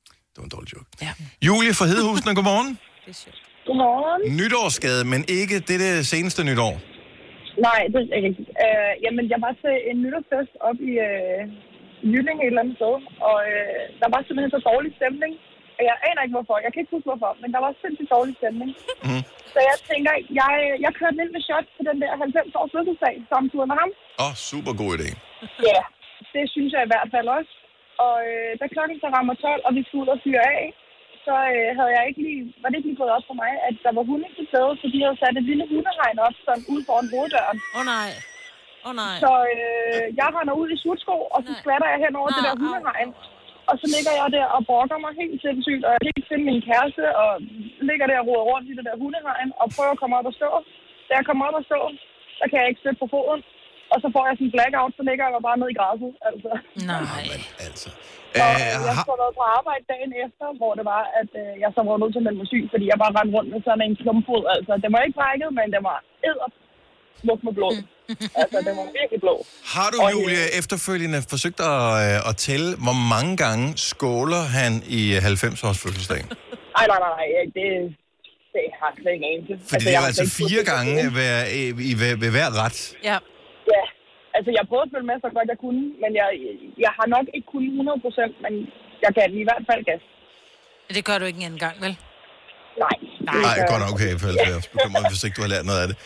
Speaker 1: Det var en dårlig joke. Ja. Julie fra Hedehusen, og godmorgen.
Speaker 11: Godmorgen.
Speaker 1: Nytårsskade, men ikke det, det seneste nytår.
Speaker 11: Nej, det er ikke rigtigt. Øh, jamen, jeg var til en nytårsfest op i øh, Jylling et eller andet sted, og øh, der var simpelthen så dårlig stemning. Og Jeg aner ikke hvorfor, jeg kan ikke huske hvorfor, men der var sindssygt dårlig stemning.
Speaker 1: Mhm.
Speaker 11: Så jeg tænker, jeg, jeg kørte lidt med shots til den der 90 års fødselsdag samtidig med ham.
Speaker 1: Åh, oh, super god idé.
Speaker 11: Ja, det synes jeg i hvert fald også. Og øh, da klokken så rammer 12, og vi skulle ud og fyre af, så øh, havde jeg ikke lige, var det ikke lige gået op for mig, at der var hunde til stede, så de havde sat et lille hundehegn op sådan ude foran hoveddøren.
Speaker 3: Åh oh, nej. Åh oh, nej.
Speaker 11: Så øh, jeg render ud i slutsko, og så skvatter jeg hen over det der hundehegn. Og så ligger jeg der og brokker mig helt sindssygt, og jeg kan ikke finde min kæreste, og ligger der og roder rundt i det der hundehegn, og prøver at komme op og stå. Da jeg kommer op og stå, så kan jeg ikke støtte på foden. Og så får jeg sådan en blackout, så ligger jeg mig bare ned i græsset. Altså.
Speaker 2: Nej.
Speaker 1: Altså.
Speaker 11: Og
Speaker 1: Æh,
Speaker 11: jeg
Speaker 1: har,
Speaker 11: skulle have været på arbejde dagen efter, hvor det var, at øh, jeg så var nødt til at melde mig syg, fordi jeg bare rendte rundt med sådan en klumpfod. Altså, den var ikke brækket, men den var edder smuk med blod. altså, den var virkelig blå.
Speaker 1: har du,
Speaker 11: øh,
Speaker 1: Julie, efterfølgende forsøgt at, øh, at tælle, hvor mange gange skåler han i 90-års fødselsdag?
Speaker 11: Ej, nej, nej, nej, det, det har jeg slet ikke anelse.
Speaker 1: Fordi det er
Speaker 11: jeg
Speaker 1: jo
Speaker 11: har
Speaker 1: altså
Speaker 11: slet ikke
Speaker 1: fire
Speaker 11: fulgt
Speaker 1: gange
Speaker 11: med.
Speaker 1: hver, i, i, hver- ved hver ret.
Speaker 2: Ja.
Speaker 11: Ja, altså jeg prøvede at følge med så godt jeg kunne, men jeg, jeg har nok ikke kun 100 procent, men jeg kan i hvert fald gas.
Speaker 2: Men det gør du ikke en anden gang, vel?
Speaker 11: Nej.
Speaker 1: Nej, godt nok, okay, for jeg er også bekymret, hvis ikke du har lært noget af det.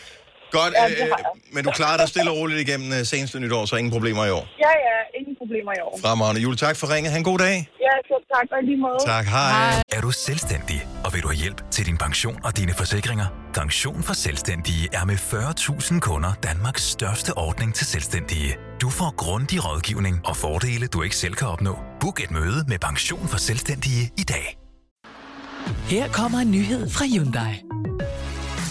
Speaker 1: Godt,
Speaker 11: Ja, det har
Speaker 1: øh, men du klarer dig stille og roligt igennem øh, seneste nytår, så ingen problemer i år.
Speaker 11: Ja, ja, ingen problemer i år.
Speaker 1: Fremragende. Julie, tak for ringet. Han god dag.
Speaker 11: Ja, så tak, og i lige måde.
Speaker 1: Tak, hej.
Speaker 5: Er du selvstændig, og vil du have hjælp til din pension og dine forsikringer? Pension for Selvstændige er med 40.000 kunder Danmarks største ordning til selvstændige. Du får grundig rådgivning og fordele, du ikke selv kan opnå. Book et møde med Pension for Selvstændige i dag.
Speaker 13: Her kommer en nyhed fra Hyundai.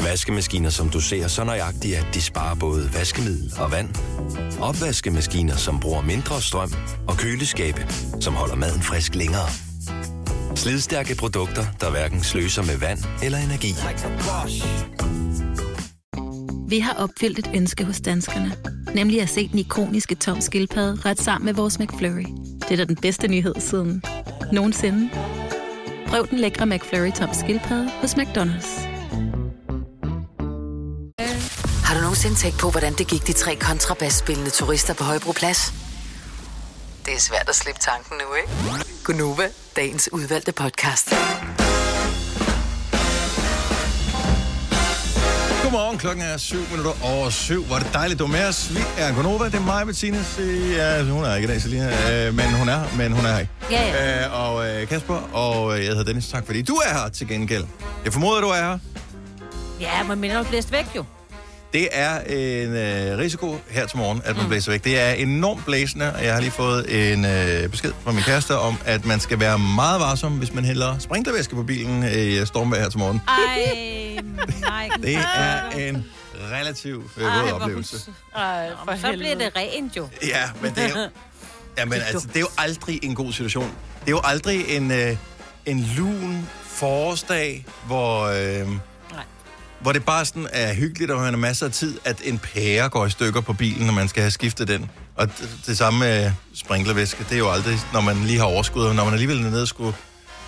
Speaker 14: Vaskemaskiner, som du ser så nøjagtigt, at de sparer både vaskemiddel og vand. Opvaskemaskiner, som bruger mindre strøm. Og køleskabe, som holder maden frisk længere. Slidstærke produkter, der hverken sløser med vand eller energi.
Speaker 15: Vi har opfyldt et ønske hos danskerne. Nemlig at se den ikoniske tom skildpadde ret sammen med vores McFlurry. Det er da den bedste nyhed siden nogensinde. Prøv den lækre McFlurry tom skildpadde hos McDonald's.
Speaker 16: Har du nogensinde tænkt på, hvordan det gik de tre kontrabasspillende turister på Højbroplads? Det er svært at slippe tanken nu, ikke? Gunova, dagens udvalgte podcast.
Speaker 1: Godmorgen, klokken er 7 minutter over 7. Var det dejligt, du er med os. Vi er Gonova, det er mig, Bettina. Se- Ja, hun er ikke i dag, Selina, øh, men hun er her, men hun er her ikke.
Speaker 3: Ja,
Speaker 1: ja. Øh, og øh, Kasper, og øh, jeg hedder Dennis, tak fordi du er her til gengæld. Jeg formoder, du er her.
Speaker 3: Ja, man minder nok blæst væk jo.
Speaker 1: Det er en øh, risiko her til morgen,
Speaker 3: Mm.
Speaker 1: at man blæser væk. Det er enormt blæsende, og jeg har lige fået en øh, besked fra min kæreste om, at man skal være meget varsom, hvis man hælder sprinklervæske på bilen øh, i øh, stormvejr her til morgen.
Speaker 3: Ej, nej.
Speaker 1: Det er en relativ øh,
Speaker 3: Ej,
Speaker 1: våd
Speaker 3: hvor
Speaker 1: oplevelse.
Speaker 3: Ej, for så bliver det rent jo.
Speaker 1: Ja, men det er jo... Jamen, altså, det er jo aldrig en god situation. Det er jo aldrig en, øh, en lun forårsdag, hvor, øh, hvor det bare sådan er hyggeligt, og man har masser af tid, at en pære går i stykker på bilen, når man skal have skiftet den. Og det, det samme med sprinklervæske, det er jo aldrig, når man lige har overskud, og når man alligevel er nede og skulle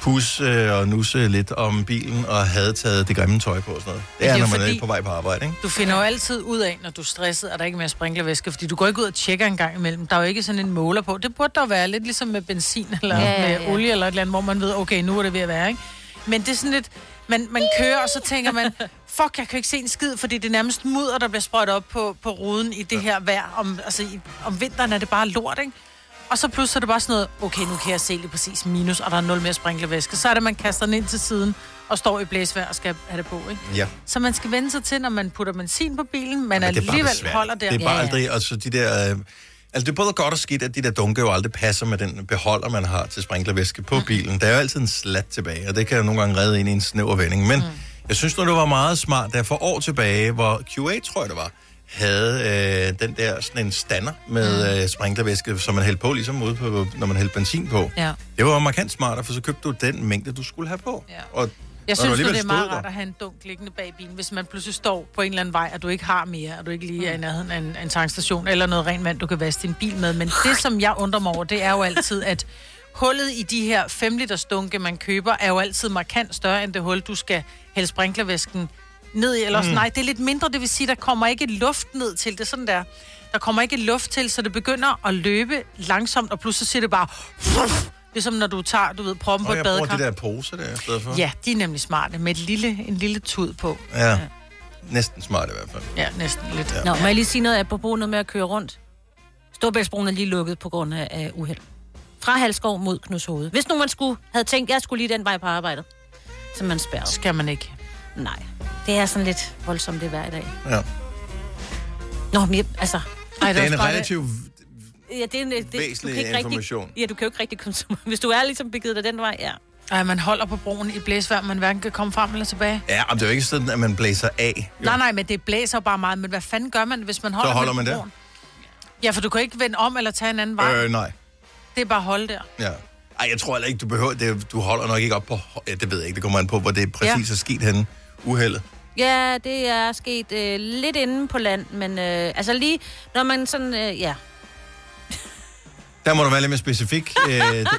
Speaker 1: pusse øh, og nusse lidt om bilen, og havde taget det grimme tøj på og sådan noget. Det
Speaker 2: Men
Speaker 1: er,
Speaker 2: det er
Speaker 1: når
Speaker 2: jo
Speaker 1: man
Speaker 2: fordi-
Speaker 1: er på vej på arbejde, ikke?
Speaker 2: Du finder jo altid ud af, når du er stresset, at der ikke er mere sprinklervæske, fordi du går ikke ud og tjekker en gang imellem. Der er jo ikke sådan en måler på. Det burde der være lidt ligesom med benzin eller
Speaker 17: Ja,
Speaker 2: ja,
Speaker 17: ja,
Speaker 2: ja,
Speaker 17: ja.
Speaker 2: med olie eller et eller andet, hvor man ved, okay, nu er det ved at være, ikke? Men det er sådan lidt, man, man kører, og så tænker man, fuck, jeg kan ikke se en skid, fordi det er nærmest mudder, der bliver sprøjt op på, på ruden i det her vejr. Om, altså, i, om vinteren er det bare lort, ikke? Og så pludselig er det bare sådan noget, okay, nu kan jeg se lige præcis minus, og der er nul mere sprinklervæske. Så er det, man kaster den ind til siden og står i blæsvejr og skal have det på, ikke?
Speaker 1: Ja.
Speaker 2: Så man skal vende sig til, når man putter benzin på bilen, man
Speaker 1: Men det er bare
Speaker 2: alligevel
Speaker 1: besværligt.
Speaker 2: holder der.
Speaker 1: Det er bare aldrig, altså de der... Øh, altså det er både godt og skidt, at de der dunke jo aldrig passer med den beholder, man har til sprinklervæske på bilen. Der er jo altid en slat tilbage, og det kan jo nogle gange redde ind i en snæver vending. Men mm. jeg synes nu, det var meget smart, der for år tilbage, hvor QA, tror jeg det var, havde øh, den der sådan en stander
Speaker 2: Mm.
Speaker 1: med øh, sprinklervæske, som man hældte på, ligesom ude på, når man hældte benzin på.
Speaker 2: Ja.
Speaker 1: Det var markant smartere, for så købte du den mængde, du skulle have på. Ja. Og,
Speaker 2: Jeg
Speaker 1: når du
Speaker 2: synes, nu,
Speaker 1: alligevel
Speaker 2: det er
Speaker 1: stod
Speaker 2: meget
Speaker 1: der-
Speaker 2: rart at have en dunk liggende bag bilen, hvis man pludselig står på en eller anden vej, og du ikke har mere, og du ikke
Speaker 1: Mm.
Speaker 2: lige er i nærheden af en, af en tankstation, eller noget rent vand, du kan vaske din bil med. Men det, som jeg undrer mig over, det er jo altid, at hullet i de her 5 liters dunke, man køber, er jo altid markant større end det hul, du skal hælde sprinklervæsken ned i. Eller også,
Speaker 17: Mm.
Speaker 2: mm. nej, det er lidt mindre, det vil sige, der kommer ikke luft ned til det, sådan der. Der kommer ikke luft til, så det begynder at løbe langsomt, og pludselig siger det bare... Ligesom når du tager, du ved, proppen på
Speaker 1: Og
Speaker 2: et
Speaker 1: jeg
Speaker 2: badekar.
Speaker 1: bruger de der poser der i stedet for.
Speaker 2: Ja, de er nemlig smarte, med et lille, en lille tud på.
Speaker 1: Ja. Næsten smart i hvert fald.
Speaker 2: Ja, næsten lidt.
Speaker 1: Ja.
Speaker 3: Nå, må jeg lige sige noget apropos noget med at køre rundt? Storbæltsbroen er lige lukket på grund af, af uheld. Fra Halskov mod Knudshoved. Hvis nu man skulle, havde tænkt, jeg skulle lige den vej på arbejdet, så er man spærret.
Speaker 2: Skal man ikke?
Speaker 3: Nej. Det er sådan lidt voldsomt det hver dag.
Speaker 1: Ja.
Speaker 3: Nå, men jeg, altså...
Speaker 1: Ej, det er øh, en relativ...
Speaker 3: Ja, det er en, det, du kan
Speaker 1: væsentlig
Speaker 3: ikke
Speaker 1: information.
Speaker 3: Rigtig, ja, du kan jo ikke rigtig komme så Hvis du er ligesom begivet dig den vej, ja.
Speaker 2: Ej, man holder på broen i blæsvær, man hverken kan komme frem eller tilbage.
Speaker 1: Ja, men det er jo ikke sådan, at man blæser af. Jo.
Speaker 2: Nej, nej, men det blæser jo bare meget. Men hvad fanden gør man, hvis man holder,
Speaker 1: Så holder man
Speaker 2: på
Speaker 1: der.
Speaker 2: broen? Ja, for du kan ikke vende om eller tage en anden vej.
Speaker 1: Øh, nej.
Speaker 2: Det er bare at holde der.
Speaker 1: Ja. Ej, jeg tror heller ikke, du behøver... Det, du holder nok ikke op på... Ja, det ved jeg ikke. Det kommer an på, hvor det præcis
Speaker 3: Ja.
Speaker 1: er sket henne. Uheldet.
Speaker 3: Ja, det er sket øh, lidt inde på land, men øh, altså lige, når man sådan, øh, ja.
Speaker 1: Der må du være lidt mere specifik. øh,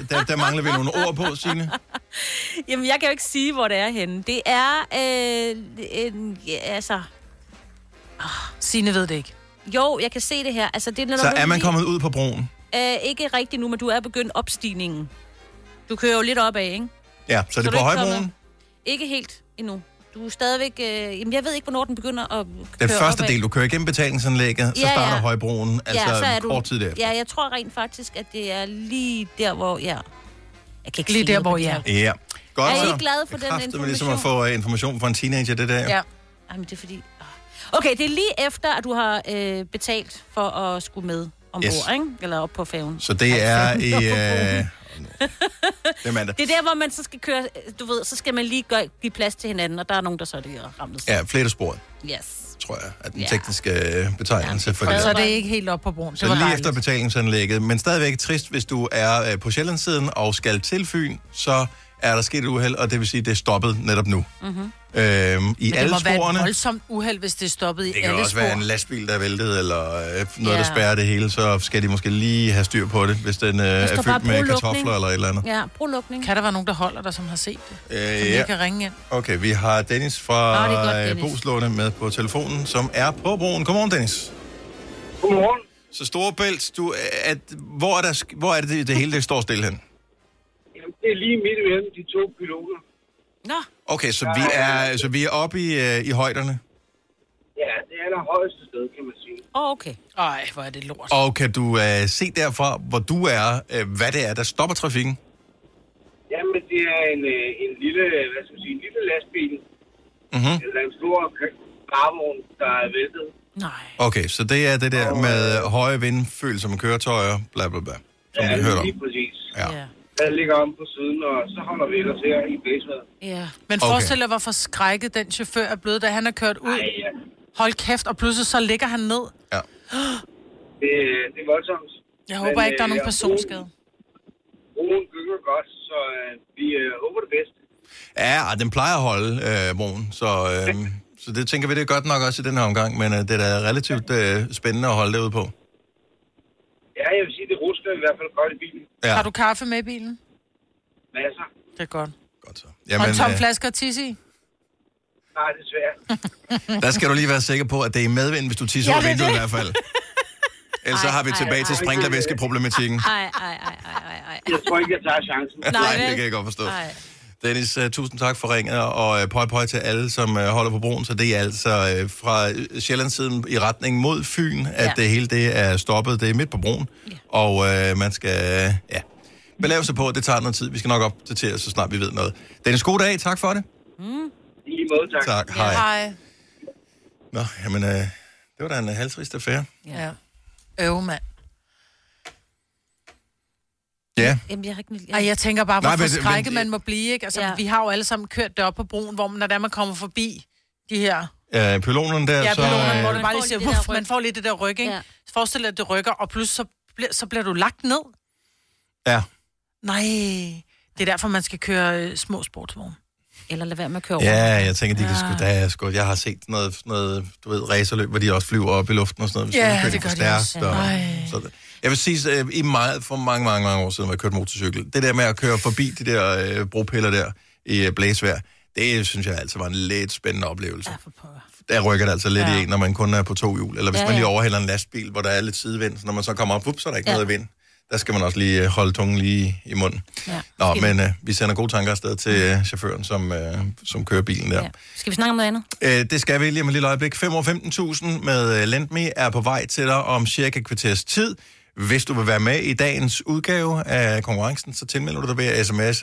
Speaker 1: der, der, mangler vi nogle ord på, Signe.
Speaker 3: Jamen, jeg kan jo ikke sige, hvor det er henne. Det er, øh, en, ja, altså... Ah.
Speaker 2: Signe ved det ikke.
Speaker 3: Jo, jeg kan se det her. Altså, det er, når
Speaker 1: Så
Speaker 3: du
Speaker 1: er man
Speaker 3: lige-
Speaker 1: kommet ud på broen.
Speaker 3: Øh, ikke rigtigt nu, men du er begyndt opstigningen. Du kører jo lidt opad, ikke?
Speaker 1: Ja, så det
Speaker 3: du
Speaker 1: er på
Speaker 3: ikke
Speaker 1: højbroen.
Speaker 3: kommet- Ikke helt endnu. Du er stadigvæk... Øh, jamen, jeg ved ikke, hvornår den begynder at køre
Speaker 1: Den første
Speaker 3: opad.
Speaker 1: del, du kører igennem betalingsanlægget, så
Speaker 3: Ja, ja.
Speaker 1: starter højbroen, altså kort tid derefter.
Speaker 3: Ja, jeg tror rent faktisk, at det er lige der, hvor jeg... Jeg kan ikke
Speaker 2: Lige der,
Speaker 3: sige noget
Speaker 2: hvor
Speaker 3: på det
Speaker 2: jeg
Speaker 3: her.
Speaker 1: Ja. Godt,
Speaker 3: Er I
Speaker 1: så.
Speaker 3: ikke glade for
Speaker 1: Det
Speaker 3: den
Speaker 1: er kraftedeme ligesom at få øh, information fra en teenager, det der. jo.
Speaker 3: Ja. Jamen, det er fordi... Okay, det er lige efter, at du har øh, betalt for at skulle med ombord,
Speaker 1: Yes.
Speaker 3: yes. ikke? Eller op på færgen.
Speaker 1: Så det er i...
Speaker 3: Nå,
Speaker 1: Øh... Det er mandag.
Speaker 3: Det er der, hvor man så skal køre... Du ved, så skal man lige gøre, give plads til hinanden, og der er nogen, der så er ramt.
Speaker 1: Ja, flere sporet,
Speaker 3: Yes.
Speaker 1: tror jeg, er den
Speaker 3: Ja.
Speaker 1: tekniske øh, betegnelse for det.
Speaker 2: Så
Speaker 1: der.
Speaker 2: er det ikke helt op på broen. Det
Speaker 1: Så
Speaker 2: var
Speaker 1: lige
Speaker 2: dejligt.
Speaker 1: efter betalingsanlægget, men stadigvæk trist, hvis du er øh, på Sjællandssiden og skal til Fyn, så er der sket et uheld, og det vil sige, at det er stoppet netop nu.
Speaker 3: Mhm.
Speaker 2: Mm-hmm.
Speaker 1: Øhm, I
Speaker 2: Men det
Speaker 1: alle
Speaker 2: må være
Speaker 1: sporene.
Speaker 2: et voldsomt uheld, hvis det er stoppet i
Speaker 1: Det kan
Speaker 2: alle
Speaker 1: jo også
Speaker 2: spor.
Speaker 1: være en lastbil, der er væltet, eller øh, noget,
Speaker 2: Ja.
Speaker 1: der spærrer det hele, så skal de måske lige have styr på det, hvis den øh,
Speaker 2: Der
Speaker 1: er
Speaker 2: står
Speaker 1: fyldt med
Speaker 2: brolukning.
Speaker 1: kartofler eller et eller andet.
Speaker 3: Ja, brolukning.
Speaker 2: Kan der være nogen, der holder dig, som har set det? Som
Speaker 1: Øh,
Speaker 2: ja.
Speaker 1: ja.
Speaker 2: ikke kan ringe ind?
Speaker 1: Okay, vi har Dennis fra
Speaker 2: Nå, det er godt,
Speaker 1: øh,
Speaker 2: Dennis.
Speaker 1: Boslunde med på telefonen, som er på broen. Godmorgen, Dennis.
Speaker 12: Godmorgen.
Speaker 1: Så Storebælt, du, øh, at, hvor, er der, sk- hvor er det, det, det hele det står stille hen?
Speaker 12: Jamen, det er lige midt imellem de to piloter.
Speaker 3: Nå.
Speaker 1: Okay, så vi er, så vi er oppe i, øh, i højderne.
Speaker 12: Ja, det er der højeste sted, kan man sige.
Speaker 3: Åh, oh, okay.
Speaker 2: Ej, hvor er det lort.
Speaker 1: Og kan du øh, se derfra, hvor du er, øh, hvad det er, der stopper trafikken?
Speaker 12: Jamen, det er en, øh, en lille, hvad skal man sige, en lille lastbil,
Speaker 1: Mm-hmm.
Speaker 12: eller en stor k- varevogn, der er væltet.
Speaker 1: Okay, så det er det der
Speaker 12: øh,
Speaker 1: med høje vindfølsomme køretøjer, bla bla bla, som vi hørte om.
Speaker 12: lige præcis.
Speaker 1: Ja.
Speaker 12: Den ligger om på siden, og så holder vi ellers her i blæsvejret.
Speaker 2: Ja. Men
Speaker 1: Okay.
Speaker 2: forestil dig, hvor forskrækket den chauffør er blevet, da han er kørt ud. Ej,
Speaker 12: ja.
Speaker 2: Hold kæft, og pludselig så ligger han ned.
Speaker 1: Ja.
Speaker 12: Det, det er voldsomt. øh,
Speaker 2: Jeg håber ikke, der er nogen personskade.
Speaker 12: Broen gynger godt, så øh, vi øh, håber det bedste.
Speaker 1: Ja, og den plejer at holde øh, broen, så, øh, så det tænker vi, det er godt nok også i den her omgang, men øh, det er da relativt øh, spændende at holde det ud på.
Speaker 12: Ja, jeg vil sige, det rusker i hvert fald godt i bilen.
Speaker 1: Ja.
Speaker 2: Har du kaffe med i bilen?
Speaker 12: Masser.
Speaker 2: Det er godt.
Speaker 1: Godt så.
Speaker 2: Jamen, og en tom
Speaker 1: øh,
Speaker 2: flaske at tisse i.
Speaker 12: Nej, desværre.
Speaker 1: Der skal du lige være sikker på, at det er i medvind, hvis du tisser
Speaker 2: Ja,
Speaker 1: ja, over
Speaker 2: det er
Speaker 1: vinduet i
Speaker 2: det.
Speaker 1: hvert fald. Ellers så har vi
Speaker 3: ej,
Speaker 1: tilbage til
Speaker 3: ej.
Speaker 1: sprinklervæskeproblematikken.
Speaker 3: Ej, ej, ej, ej, ej, ej.
Speaker 12: Jeg tror ikke, jeg tager chancen.
Speaker 1: Nej, det kan jeg godt forstå. Dennis, uh, tusind tak for ringet, og uh, pøj pøj til alle, som uh, holder på broen. Så det er altså uh, fra Sjællandssiden i retning mod Fyn, at
Speaker 5: Ja.
Speaker 1: det hele det er stoppet. Det er midt på broen, og uh, man skal... Uh, ja. Belave sig på, det tager noget tid. Vi skal nok opdatere, så snart vi ved noget. Dennis, god dag. Tak for det.
Speaker 12: Mm. I lige måde, tak.
Speaker 1: Tak, hej. Nå, jamen, uh, det var da en uh, halvtrist affære.
Speaker 2: Ja. Øv, mand.
Speaker 1: Ja.
Speaker 3: Jamen, jeg har ikke...
Speaker 2: Ej, jeg tænker bare,
Speaker 1: Nej,
Speaker 2: hvorfor
Speaker 1: men- men-
Speaker 2: skrække man må blive, ikke? Altså, ja. vi har jo alle sammen kørt derop på broen, hvor man, når det er, man kommer forbi de her...
Speaker 1: Uh, pylonerne der,
Speaker 2: Ja,
Speaker 1: så...
Speaker 2: pylonerne,
Speaker 1: øh,
Speaker 2: hvor det bare lige siger, "Wuff", man får lidt det der ryg, ikke? Ja. Forestil dig, at det rykker, og pludselig så bliver, så bliver du lagt ned.
Speaker 1: Ja.
Speaker 2: Nej, det er derfor, man skal køre øh, små sportsvogne.
Speaker 3: Eller lad være med at køre
Speaker 1: Ja, jeg tænker, de kan sgu da sgu. Jeg har set noget, noget du ved, racerløb, hvor de også flyver op i luften og sådan noget. hvis
Speaker 2: Ja,
Speaker 1: de kører
Speaker 2: det
Speaker 1: for
Speaker 2: gør de også.
Speaker 1: stærkt,
Speaker 2: Ej.
Speaker 1: så det. Jeg vil sige, øh, i meget, for mange, mange, mange år siden, hvor jeg kørte motorcykel, det der med at køre forbi de der øh, bropiller der i øh, blæsvær, det synes jeg altid var en lidt spændende oplevelse. Der rykker det altså lidt ja. i en, når man kun er på to hjul. Eller hvis
Speaker 5: Ja,
Speaker 1: ja, man lige
Speaker 5: ja.
Speaker 1: overhælder en lastbil, hvor der er lidt sidevind, så når man så kommer op, up, så er der ikke
Speaker 5: Ja.
Speaker 1: ja. noget vind. Der skal man også lige øh, holde tungen lige i munden.
Speaker 3: Ja.
Speaker 1: Nå, men øh, vi sender gode tanker afsted til øh, chaufføren, som, øh, som kører bilen der. Ja.
Speaker 3: Skal vi snakke om noget andet?
Speaker 1: Øh, det skal vi lige om et lille øjeblik. 5 15.000 med øh, LendMe er på vej til dig om cirka et kvarters tid. Hvis du vil være med i dagens udgave af konkurrencen, så tilmelder du dig ved at sms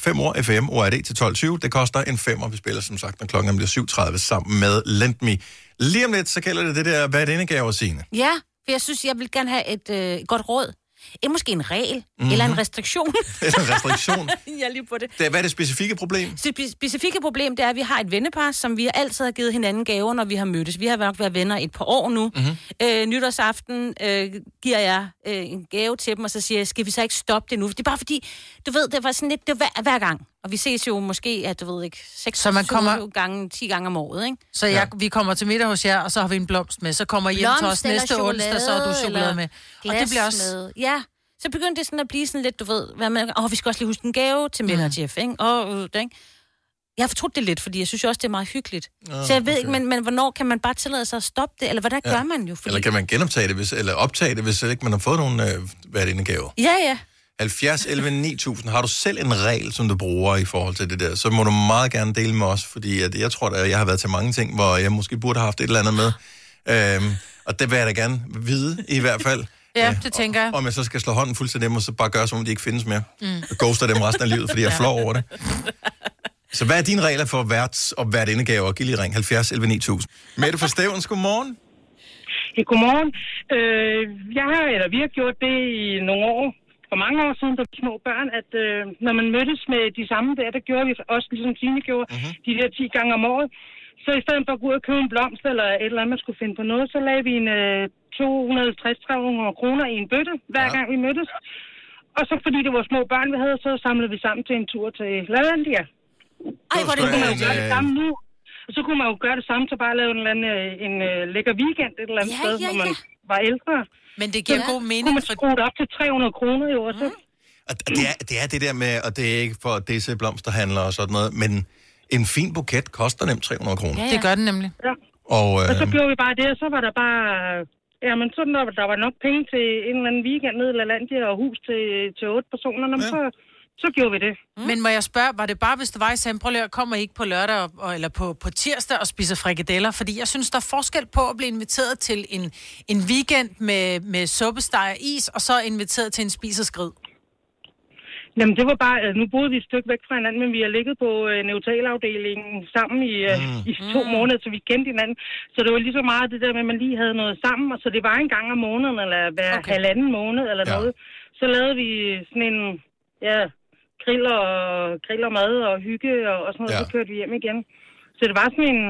Speaker 1: 5 år FM ORD til 12.20. Det koster en 5, og vi spiller som sagt, når klokken bliver 7.30 sammen med LendMe. Lige om lidt, så gælder det det der, hvad er denne gave, Signe?
Speaker 3: Ja, for jeg synes, jeg vil gerne have et øh, godt råd. Eh, måske en regel,
Speaker 1: Mhm.
Speaker 3: mm-hmm. eller en restriktion.
Speaker 1: Eller en restriktion.
Speaker 3: jeg er lige på det.
Speaker 1: Det er, hvad er det specifikke problem?
Speaker 3: Så Det specifikke problem, det er, at vi har et vennepar, som vi altid har givet hinanden gaver, når vi har mødtes. Vi har nok været venner et par år nu. Mm-hmm. Øh, nytårsaften øh, giver jeg øh, en gave til dem, og så siger jeg, skal vi så ikke stoppe det nu? Det er bare fordi, du ved, det var sådan lidt, det var hver, hver gang. Og vi ses jo måske, at du ved ikke, 6
Speaker 2: Så man kommer-
Speaker 3: gange, 10 gange om året, ikke?
Speaker 2: Så jeg, ja. vi kommer til middag hos jer, og så har vi en blomst med. Så kommer I hjem til os
Speaker 3: Blomst eller
Speaker 2: næste onsdag, så har du chokolade
Speaker 3: eller
Speaker 2: med. Og
Speaker 3: glas
Speaker 2: det bliver også...
Speaker 3: Med. Ja, så begyndte det sådan at blive sådan lidt, du ved, hvad man, åh, vi skal også lige huske en gave til Mette mm. og Jeff, ikke? Og, øh, det, ikke? Jeg har fortrudt det lidt, fordi jeg synes jo også, det er meget hyggeligt.
Speaker 1: Ah,
Speaker 3: Ah, så jeg ved
Speaker 1: okay.
Speaker 3: ikke, men, men hvornår kan man bare tillade sig at stoppe det? Eller hvordan ja. gør man jo?
Speaker 1: Fordi... Eller kan man genoptage det, hvis, eller optage det, hvis ikke man har fået nogen øh, hvad er det, en gave?
Speaker 3: Ja, ja.
Speaker 1: 70, 11, 9000. Har du selv en regel, som du bruger i forhold til det der, så må du meget gerne dele med os, fordi at jeg tror, at jeg har været til mange ting, hvor jeg måske burde have haft et eller andet med. Øhm, og det vil jeg da gerne vide, i hvert fald.
Speaker 2: Ja, det tænker jeg.
Speaker 1: Om jeg så skal slå hånden fuldstændig dem, og så bare gøre, som om de ikke findes mere. Mm. Og ghoster dem resten af livet, fordi jeg er flov over det. Så hvad er dine regler for værts- og værtindegaver? Giv lige ring 70 11 9000. Mette fra Stævns, godmorgen.
Speaker 17: Hey, godmorgen. Øh, jeg har, eller vi har gjort det i nogle år, for mange år siden, da vi var små børn, at øh, når man mødtes med de samme der, der gjorde vi også, ligesom Signe gjorde, uh-huh. de der 10 gange om året. Så i stedet for at gå ud og købe en blomst eller et eller andet, man skulle finde på noget, så lagde vi en øh, 250-300 kroner i en bøtte, hver ja. gang vi mødtes. Og så fordi det var små børn, vi havde, så samlede vi sammen til en tur til Lalandia.
Speaker 3: Ej, hvor er det
Speaker 17: Så kunne man jo
Speaker 3: hyggeligt.
Speaker 17: gøre det samme nu. Og så kunne man jo gøre det samme, så bare lave en, eller anden, øh, en øh, lækker weekend et eller andet
Speaker 2: Ja,
Speaker 17: sted,
Speaker 2: ja,
Speaker 17: hvor man
Speaker 2: ja.
Speaker 17: var ældre.
Speaker 2: Men det giver
Speaker 17: så
Speaker 2: god mening,
Speaker 17: kunne man skrue det op til 300 kroner i år, så.
Speaker 2: Mm,
Speaker 1: Og det er, det er det der med, og det er ikke for at disse blomsterhandlere og sådan noget, men en fin buket koster nemt 300 kroner.
Speaker 2: Det gør den nemlig.
Speaker 17: Ja.
Speaker 1: Og,
Speaker 17: Og så
Speaker 1: øh,
Speaker 17: gjorde vi bare det, og så var der bare... Jamen, sådan der, der var nok penge til en eller anden weekend ned i Lalandia og hus til, til otte personer, ja. så, så gjorde vi det.
Speaker 2: Mm. Men må jeg spørge, var det bare, hvis det var i Sambrølør, kommer I ikke på lørdag og- og, eller på, på tirsdag og spiser frikadeller? Fordi jeg synes, der er forskel på at blive inviteret til en, en weekend med, med suppesteg og is, og så inviteret til en spiseskrid.
Speaker 17: Jamen, det var bare... øh, Nu boede vi et stykke væk fra hinanden, men vi har ligget på øh, neutralafdelingen sammen i, øh, mm. i to mm. måneder, så vi kendte hinanden. Så det var lige så meget det der med, at man lige havde noget sammen, og så det var en gang om måneden, eller hver okay. halvanden måned eller ja. noget. Så lavede vi sådan en... Ja, grill og, grill og mad og hygge og, og sådan noget, ja. så kørte vi hjem igen. Så det var sådan en...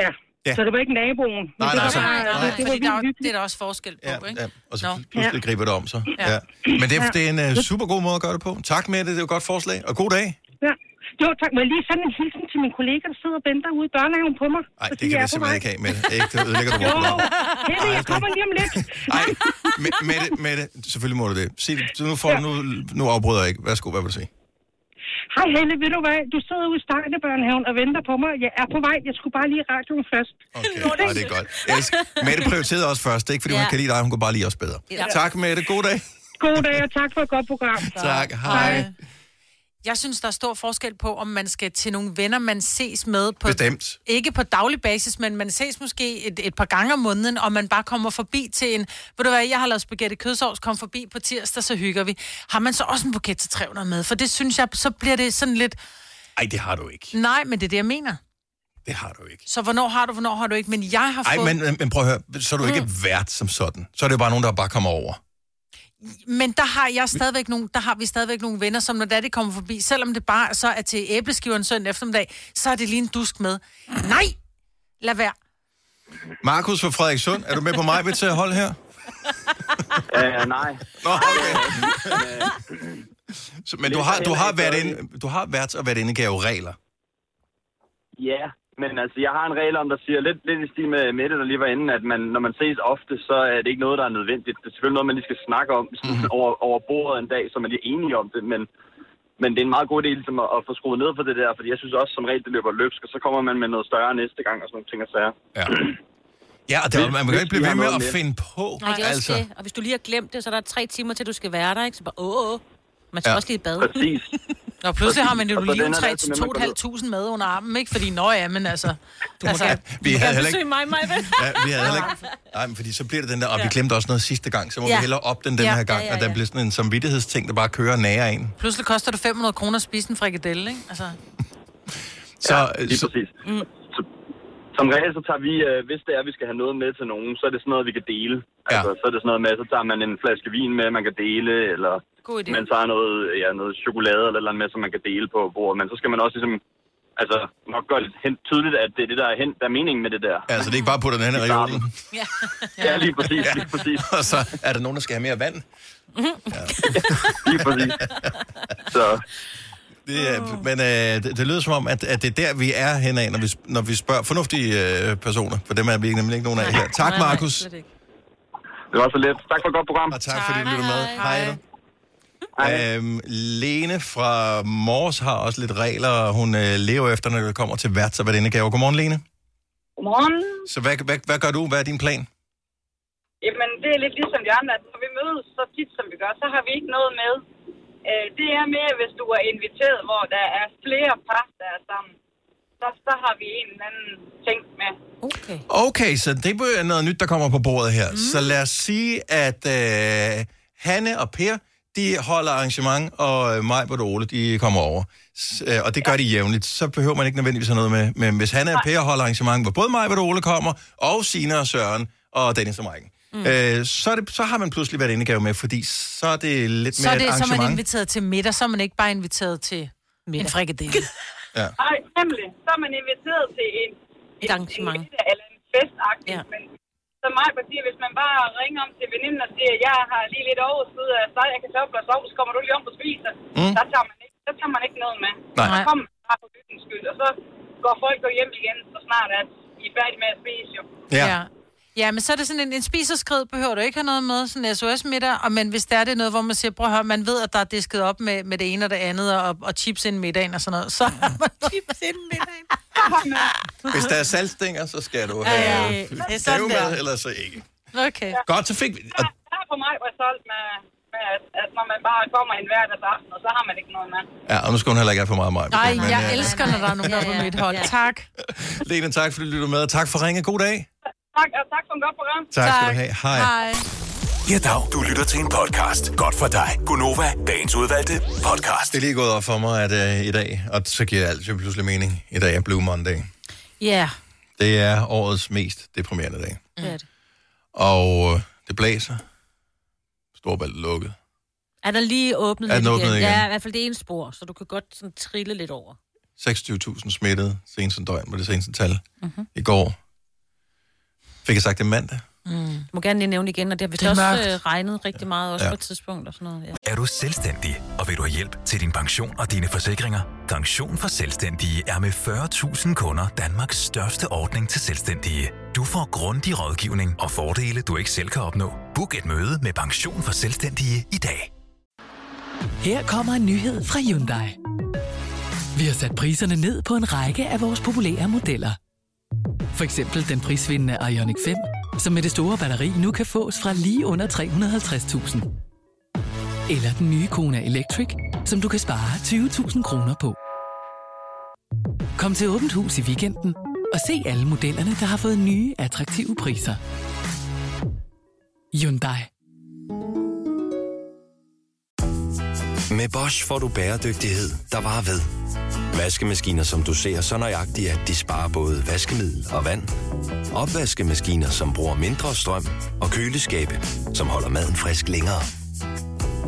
Speaker 17: Ja,
Speaker 1: Ja.
Speaker 17: ja. så det var ikke naboen. men
Speaker 1: Nej,
Speaker 17: det
Speaker 1: nej,
Speaker 17: var
Speaker 1: så-
Speaker 17: bare,
Speaker 1: nej,
Speaker 17: Det, det var
Speaker 2: Fordi der er, jo- det er der også forskel på, ja, ikke?
Speaker 1: Ja, og så
Speaker 2: Nå.
Speaker 1: pl- pludselig
Speaker 2: Ja.
Speaker 1: griber det om sig.
Speaker 2: Ja.
Speaker 1: Ja. Ja. Men det er,
Speaker 17: Ja.
Speaker 1: det er en uh, super god måde at gøre det på. Tak med det, det er et godt forslag, og god dag.
Speaker 17: Ja. Jo, tak. Må jeg lige sende en hilsen til min kollega, der sidder og venter ude i børnehaven på mig?
Speaker 1: Nej, det kan vi simpelthen ikke have, Mette. Ikke, det ødelægger du
Speaker 17: Jo,
Speaker 1: vores program.
Speaker 17: Henning, jeg kommer lige om lidt.
Speaker 1: Nej, Mette, Mette, selvfølgelig må du det. Sig det. Så Nu, får, ja. nu, nu afbryder jeg ikke. Værsgo, hvad vil du sige?
Speaker 17: Hej Helle, ved du hvad? Du sidder ude i Stejnebørnehaven og venter på mig. Jeg er på vej. Jeg skulle bare lige i radioen først.
Speaker 1: Okay, Ej, det er godt. Elsk. Mette prioriterede også først, ikke fordi ja.
Speaker 17: Ja.
Speaker 1: hun kan lide dig, hun kunne bare lide os bedre. Ja.
Speaker 2: Ja.
Speaker 1: Tak, Mette. God dag.
Speaker 17: God dag, og tak for et godt program.
Speaker 1: Tak. Hej.
Speaker 2: Jeg synes, der er stor forskel på, om man skal til nogle venner, man ses med. På,
Speaker 1: Bestemt.
Speaker 2: Ikke på daglig basis, men man ses måske et, et par gange om måneden, og man bare kommer forbi til en... Ved du hvad, jeg har lavet spaghetti kødsovs, kom forbi på tirsdag, så hygger vi. Har man så også en buket til 300 med? For det synes jeg, så bliver det sådan lidt...
Speaker 1: Ej, det har du ikke.
Speaker 2: Nej, men det er det, jeg mener.
Speaker 1: Det har du ikke.
Speaker 2: Så hvornår har du, hvornår har du ikke? Men jeg har
Speaker 1: Ej,
Speaker 2: fået... Mm.
Speaker 1: men, men prøv at høre, så er du ikke vært som sådan. Så er det jo bare nogen, der bare kommer over.
Speaker 2: Men der har jeg stadigvæk nogle, der har vi stadigvæk nogle venner, som når det er, de kommer forbi, selvom det bare så er til æbleskiveren søndag eftermiddag, så er det lige en dusk med. Nej! Lad være.
Speaker 1: Markus fra Frederikssund, er du med på mig ved til at holde her?
Speaker 18: Øh,
Speaker 10: Uh, nej.
Speaker 1: Nå, okay. Så, men du har, du har, været ind, du har været og været indegave regler.
Speaker 18: Ja, men altså, jeg har en regel om, der siger lidt, lidt i stil med Mette, der lige var inde, at man, når man ses ofte, så er det ikke noget, der er nødvendigt. Det er selvfølgelig noget, man lige skal snakke om
Speaker 1: Mhm.
Speaker 18: mm. over, over bordet en dag, så man lige er enige om det, men, men det er en meget god idé ligesom, at, at få skruet ned for det der, fordi jeg synes også, som regel, det løber løbsk, og så kommer man med noget større næste gang og sådan nogle ting og sager.
Speaker 1: Ja. Ja, og der, man kan jo ikke blive ved med at finde på.
Speaker 3: Nej, det er altså. også det. Og hvis du lige har glemt det, så er der tre timer til, du skal være der, ikke? Så bare, åh, åh. Man skal
Speaker 1: Ja.
Speaker 3: ja. også lige i bad.
Speaker 18: Præcis.
Speaker 2: Nå, pludselig har man jo
Speaker 3: Og så
Speaker 2: lige
Speaker 3: den er der altså med, man går
Speaker 2: 3-2.500 med under armen, ikke? Fordi, nå ja, men altså... Du må altså,
Speaker 1: gerne- Vi havde heller ikke-
Speaker 2: besøge mig, mig, vel?
Speaker 1: Ja, vi havde heller ikke... Nej, men fordi så bliver det den der, og vi
Speaker 2: Ja.
Speaker 1: glemte også noget sidste gang, så må ja.
Speaker 2: Ja.
Speaker 1: vi hellere op den den
Speaker 2: Ja.
Speaker 1: her gang,
Speaker 2: Ja, ja,
Speaker 1: og der
Speaker 2: ja.
Speaker 1: bliver sådan en samvittighedsting, der bare kører nære en.
Speaker 2: Pludselig koster det 500 kroner at spise en frikadelle, ikke? Altså,
Speaker 1: Så, ja,
Speaker 18: lige præcis.
Speaker 2: mm.
Speaker 18: Som regel, så tager vi, øh, hvis det er, at vi skal have noget med til nogen, så er det sådan noget, vi kan dele. Altså, så er det sådan noget med, så tager man en flaske vin med, man kan dele, eller
Speaker 2: God idé.
Speaker 18: man tager noget, ja, noget chokolade eller et eller andet med, som man kan dele på bordet. Men så skal man også ligesom, altså, nok gøre lidt hen, tydeligt, at det er det, der er, hen, der er meningen med det der.
Speaker 1: Ja, så det er ikke bare på den anden reolen.
Speaker 18: Ja, lige præcis, lige præcis.
Speaker 1: Og så er der nogen, der skal have mere vand.
Speaker 18: Lige præcis. Så.
Speaker 1: Det, er- men øh, det, det lyder som om, at, at det er der, vi er henad, når vi, sp- når vi spørger fornuftige øh, personer. For dem er vi nemlig ikke nogen af her. Tak, Markus.
Speaker 18: Det var så let. Tak for et godt program.
Speaker 1: Og tak, fordi du lyttede med. Hej. hej. Øhm, Lene fra Mors har også lidt regler, og hun øh, lever efter, når det kommer til værts- og værtindegaver. Godmorgen, Lene.
Speaker 11: Godmorgen.
Speaker 1: Så hvad, hvad, hvad gør du? Hvad er din plan?
Speaker 11: Jamen, det er lidt ligesom de andre, at når vi mødes så tit, som vi gør, så har vi ikke noget med. Øh, det er mere, hvis du er inviteret, hvor der er flere par, der er sammen. Så, så har vi en eller anden ting med.
Speaker 3: Okay.
Speaker 1: Okay, så det er noget nyt, der kommer på bordet her. Mm. Så lad os sige, at øh, Hanne og Per, de holder arrangement, og øh, mig og Ole, de kommer over. S- øh, og det gør de jævnligt. Så behøver man ikke nødvendigvis have noget med. Men hvis Hanne og Per holder arrangement, hvor både mig og Ole kommer, og Sina og Søren, og Dennis og Maiken, mm. øh, så, er det, så har man pludselig været indegave med, fordi så er det lidt
Speaker 2: så
Speaker 1: mere
Speaker 2: er
Speaker 1: et
Speaker 2: det, så er man
Speaker 1: arrangement.
Speaker 2: inviteret til middag, så er man ikke bare inviteret til middag. en frikadelle.
Speaker 1: Ja.
Speaker 11: Nej, nemlig. Så er man inviteret til en,
Speaker 2: Et arrangement.
Speaker 11: en middag eller en festagtig. Ja. Men så mig siger, hvis man bare ringer om til veninden og siger, jeg har lige lidt overskud af så jeg kan tage op og sove, så kommer du lige om og spiser.
Speaker 1: Mm.
Speaker 11: Der, tager man ikke, der tager man ikke noget med.
Speaker 1: Nej.
Speaker 11: Så kommer man bare på hyggens skyld, og så går folk jo hjem igen, så snart at I er færdige med at spise jo.
Speaker 1: Ja.
Speaker 2: ja. Ja, men så er det sådan en, en spiseskrid, behøver du ikke have noget med, sådan en SOS-middag, og men hvis der er det noget, hvor man siger, prøv at høre, man ved, at der er disket op med, med det ene og det andet, og, og chips ind middagen og sådan noget, så har man chips ind middagen.
Speaker 1: Hvis der er saltstænger, så skal du
Speaker 2: Ja,
Speaker 1: have
Speaker 2: ja,
Speaker 1: ja,
Speaker 2: ja. Det er sådan
Speaker 1: gave
Speaker 2: der.
Speaker 1: med, eller så ikke.
Speaker 2: Okay.
Speaker 1: Godt, så fik vi... Og
Speaker 11: Der er for mig var solgt med, med at, at, når man bare kommer en hverdagsaften, og så har man ikke noget med.
Speaker 1: Ja, og nu skal hun heller ikke have for meget mig.
Speaker 2: Nej,
Speaker 1: Men,
Speaker 2: jeg
Speaker 1: øh,
Speaker 2: elsker, når der er nogen, der er på mit hold. Tak.
Speaker 1: Lene, tak fordi du lyttede med, og tak for ringe. God dag.
Speaker 11: Tak, og tak for en godt program.
Speaker 1: Tak skal du have. Hej.
Speaker 5: Ja, dag. Du lytter til en podcast. Godt for dig. Gunova, dagens udvalgte podcast.
Speaker 1: Det er lige gået op for mig, at øh, i dag, og så giver alt jo pludselig mening, i dag er Blue Monday.
Speaker 3: Ja.
Speaker 1: Det er årets mest deprimerende dag.
Speaker 3: Det er det.
Speaker 1: Og øh, det blæser. Storbælt lukket.
Speaker 3: Er der lige åbnet
Speaker 1: Er den
Speaker 3: lidt
Speaker 1: åbnet igen?
Speaker 3: Ja, i hvert fald det ene spor, så du kan godt sådan trille lidt over.
Speaker 1: 26.000 smittede seneste døgn var det seneste tal. Mm-hmm. I går fik jeg sagt det er mandag.
Speaker 3: Mm. Du må gerne lige nævne det igen, og det har
Speaker 1: Det er
Speaker 3: vist også
Speaker 1: mørkt.
Speaker 3: øh, regnet rigtig meget også
Speaker 5: Ja.
Speaker 3: ja. på et tidspunkt og sådan noget. Ja.
Speaker 5: Er du selvstændig, og vil du have hjælp til din pension og dine forsikringer? Pension for Selvstændige er med 40.000 kunder Danmarks største ordning til selvstændige. Du får grundig rådgivning og fordele, du ikke selv kan opnå. Book et møde med Pension for Selvstændige i dag.
Speaker 13: Her kommer en nyhed fra Hyundai. Vi har sat priserne ned på en række af vores populære modeller. For eksempel den prisvindende Ioniq 5, som med det store batteri nu kan fås fra lige under 350.000. Eller den nye Kona Electric, som du kan spare 20.000 kroner på. Kom til Åbent Hus i weekenden og se alle modellerne, der har fået nye, attraktive priser. Hyundai.
Speaker 14: Med Bosch får du bæredygtighed, der varer ved. Vaskemaskiner, som du ser så nøjagtigt, at de sparer både vaskemiddel og vand. Opvaskemaskiner, som bruger mindre strøm. Og køleskabe, som holder maden frisk længere.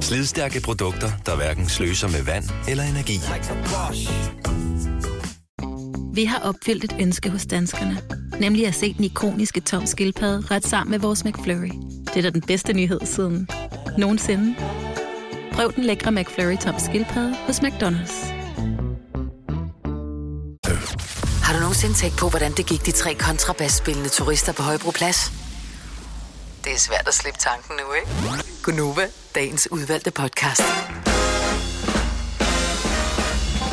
Speaker 14: Slidstærke produkter, der hverken sløser med vand eller energi.
Speaker 15: Vi har opfyldt et ønske hos danskerne. Nemlig at se den ikoniske tom skildpadde ret sammen med vores McFlurry. Det er da den bedste nyhed siden nogensinde. Prøv den lækre McFlurry tom skildpadde hos McDonald's.
Speaker 16: Har du nogensinde tænkt på, hvordan det gik de tre kontrabasspillende turister på Højbroplads? Det er svært at slippe tanken nu, ikke? Gunova, dagens udvalgte podcast.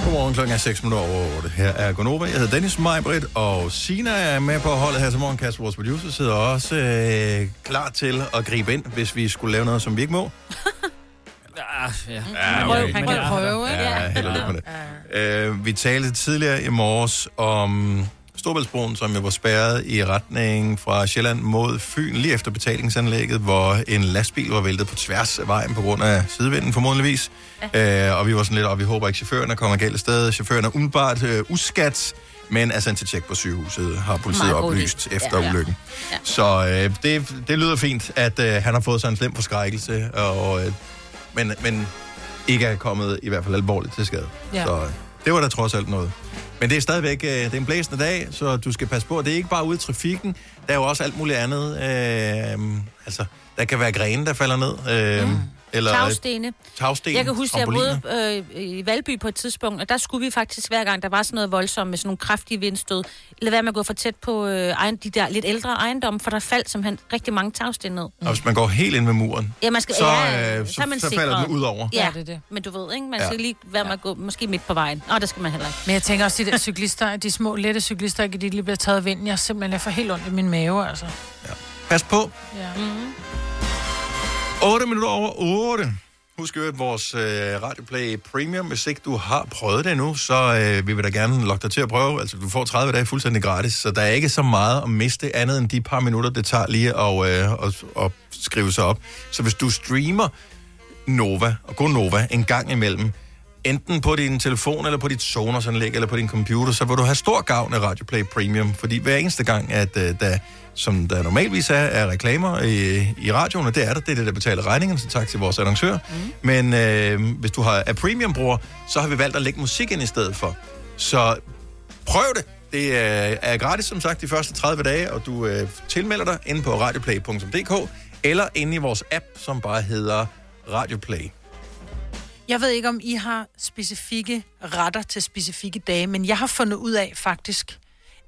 Speaker 1: Godmorgen klokken er 6 minutter over 8. Her er Gonova. Jeg hedder Dennis Majbrit, og Sina er med på holdet her til morgen. Kasper, vores producer, sidder også øh, klar til at gribe ind, hvis vi skulle lave noget, som vi ikke må.
Speaker 4: Ah, ja.
Speaker 1: Ja,
Speaker 4: Men-
Speaker 1: okay.
Speaker 4: men-
Speaker 1: Prøv at
Speaker 2: prøve,
Speaker 1: ikke? Ja, held og lykke med det. Øh, vi talte tidligere i morges om Storbæltsbroen, som jo var spærret i retning fra Sjælland mod Fyn, lige efter betalingsanlægget, hvor en lastbil var væltet på tværs af vejen på grund af sidevinden formodentligvis. Øh, og vi var sådan lidt, og vi håber ikke, chaufførerne kommer galt af sted. Chaufførerne er umiddelbart øh, uskat, men er sendt til tjek på sygehuset, har politiet
Speaker 19: Meget god idé.
Speaker 1: oplyst
Speaker 19: Ja,
Speaker 1: efter
Speaker 19: ja.
Speaker 1: ulykken. Ja. Så øh, det, det lyder fint, at øh, han har fået sig en slem forskrækkelse, og, øh, men, men ikke er kommet i hvert fald alvorligt til skade.
Speaker 19: Ja.
Speaker 1: Ja. Så øh, det var da trods alt noget. Men det er stadigvæk øh, det er en blæsende dag, så du skal passe på. Det er ikke bare ude i trafikken, der er jo også alt muligt andet. Øh, altså, der kan være grene, der falder ned. Øh, mm. eller
Speaker 3: Tagstene.
Speaker 1: Tagsten,
Speaker 3: Jeg kan huske, at jeg
Speaker 1: trampoliner.
Speaker 3: boede øh, i Valby på et tidspunkt, og der skulle vi faktisk hver gang, der var sådan noget voldsomt med sådan nogle kraftige vindstød, lad være med at gå for tæt på øh, ejen, de der lidt ældre ejendomme, for der faldt simpelthen rigtig mange tagsten ned.
Speaker 1: Og hvis man går helt ind med muren,
Speaker 3: Ja, man skal,
Speaker 1: så,
Speaker 3: ja,
Speaker 1: øh, så,
Speaker 3: er man
Speaker 1: så falder
Speaker 3: sikret.
Speaker 1: den ud over.
Speaker 3: Ja, det er det. men du ved, ikke? Man
Speaker 1: Ja.
Speaker 3: skal lige være med at gå måske midt på vejen. Nå, der skal man heller ikke.
Speaker 2: Men jeg tænker også, de der cyklister, de små lette cyklister, ikke, de lige bliver taget af vinden. Jeg simpelthen jeg får helt ondt i min mave, altså.
Speaker 1: Pas på,
Speaker 2: Ja. Mm-hmm.
Speaker 1: 8 minutter over 8. Husk at vores øh, Radioplay Premium. Hvis ikke du har prøvet det endnu, så øh, vi vil da gerne lokke dig til at prøve. Altså, du får 30 dage fuldstændig gratis, så der er ikke så meget at miste andet end de par minutter, det tager lige at, øh, at, at skrive sig op. Så hvis du streamer Nova, og gå Nova en gang imellem, enten på din telefon, eller på dit Sonos-anlæg, eller på din computer, så vil du have stor gavn af Radioplay Premium, fordi hver eneste gang, at øh, der, som der normalvis er, er reklamer i, i radioen, og det er der, det er det, der betaler regningen, så tak til vores annoncør. Mm. Men øh, hvis du har, er Premium-bruger, så har vi valgt at lægge musik ind i stedet for. Så prøv det! Det øh, er gratis, som sagt, de første 30 dage, og du øh, tilmelder dig inde på radioplay.dk, eller inde i vores app, som bare hedder Radioplay.
Speaker 2: Jeg ved ikke, om I har specifikke retter til specifikke dage, men jeg har fundet ud af faktisk,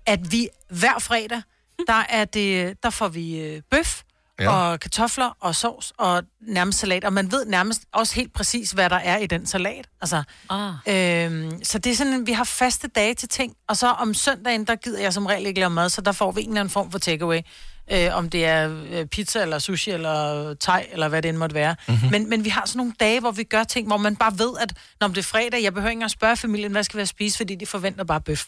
Speaker 2: at vi hver fredag, der, er det, der får vi øh, bøf
Speaker 19: Ja.
Speaker 2: ja. og kartofler og sovs og nærmest salat. Og man ved nærmest også helt præcis, hvad der er i den salat. Altså,
Speaker 3: ah.
Speaker 2: øhm, så det er sådan, vi har faste dage til ting. Og så om søndagen, der gider jeg som regel ikke lave mad, så der får vi en eller anden form for takeaway. Øh, om det er øh, pizza, eller sushi, eller thai, eller hvad det end måtte være.
Speaker 1: Mhm.
Speaker 2: Mm-hmm. Men, men vi har sådan nogle dage, hvor vi gør ting, hvor man bare ved, at når det er fredag, jeg behøver ikke engang spørge familien, hvad skal vi have at spise, fordi de forventer bare bøf.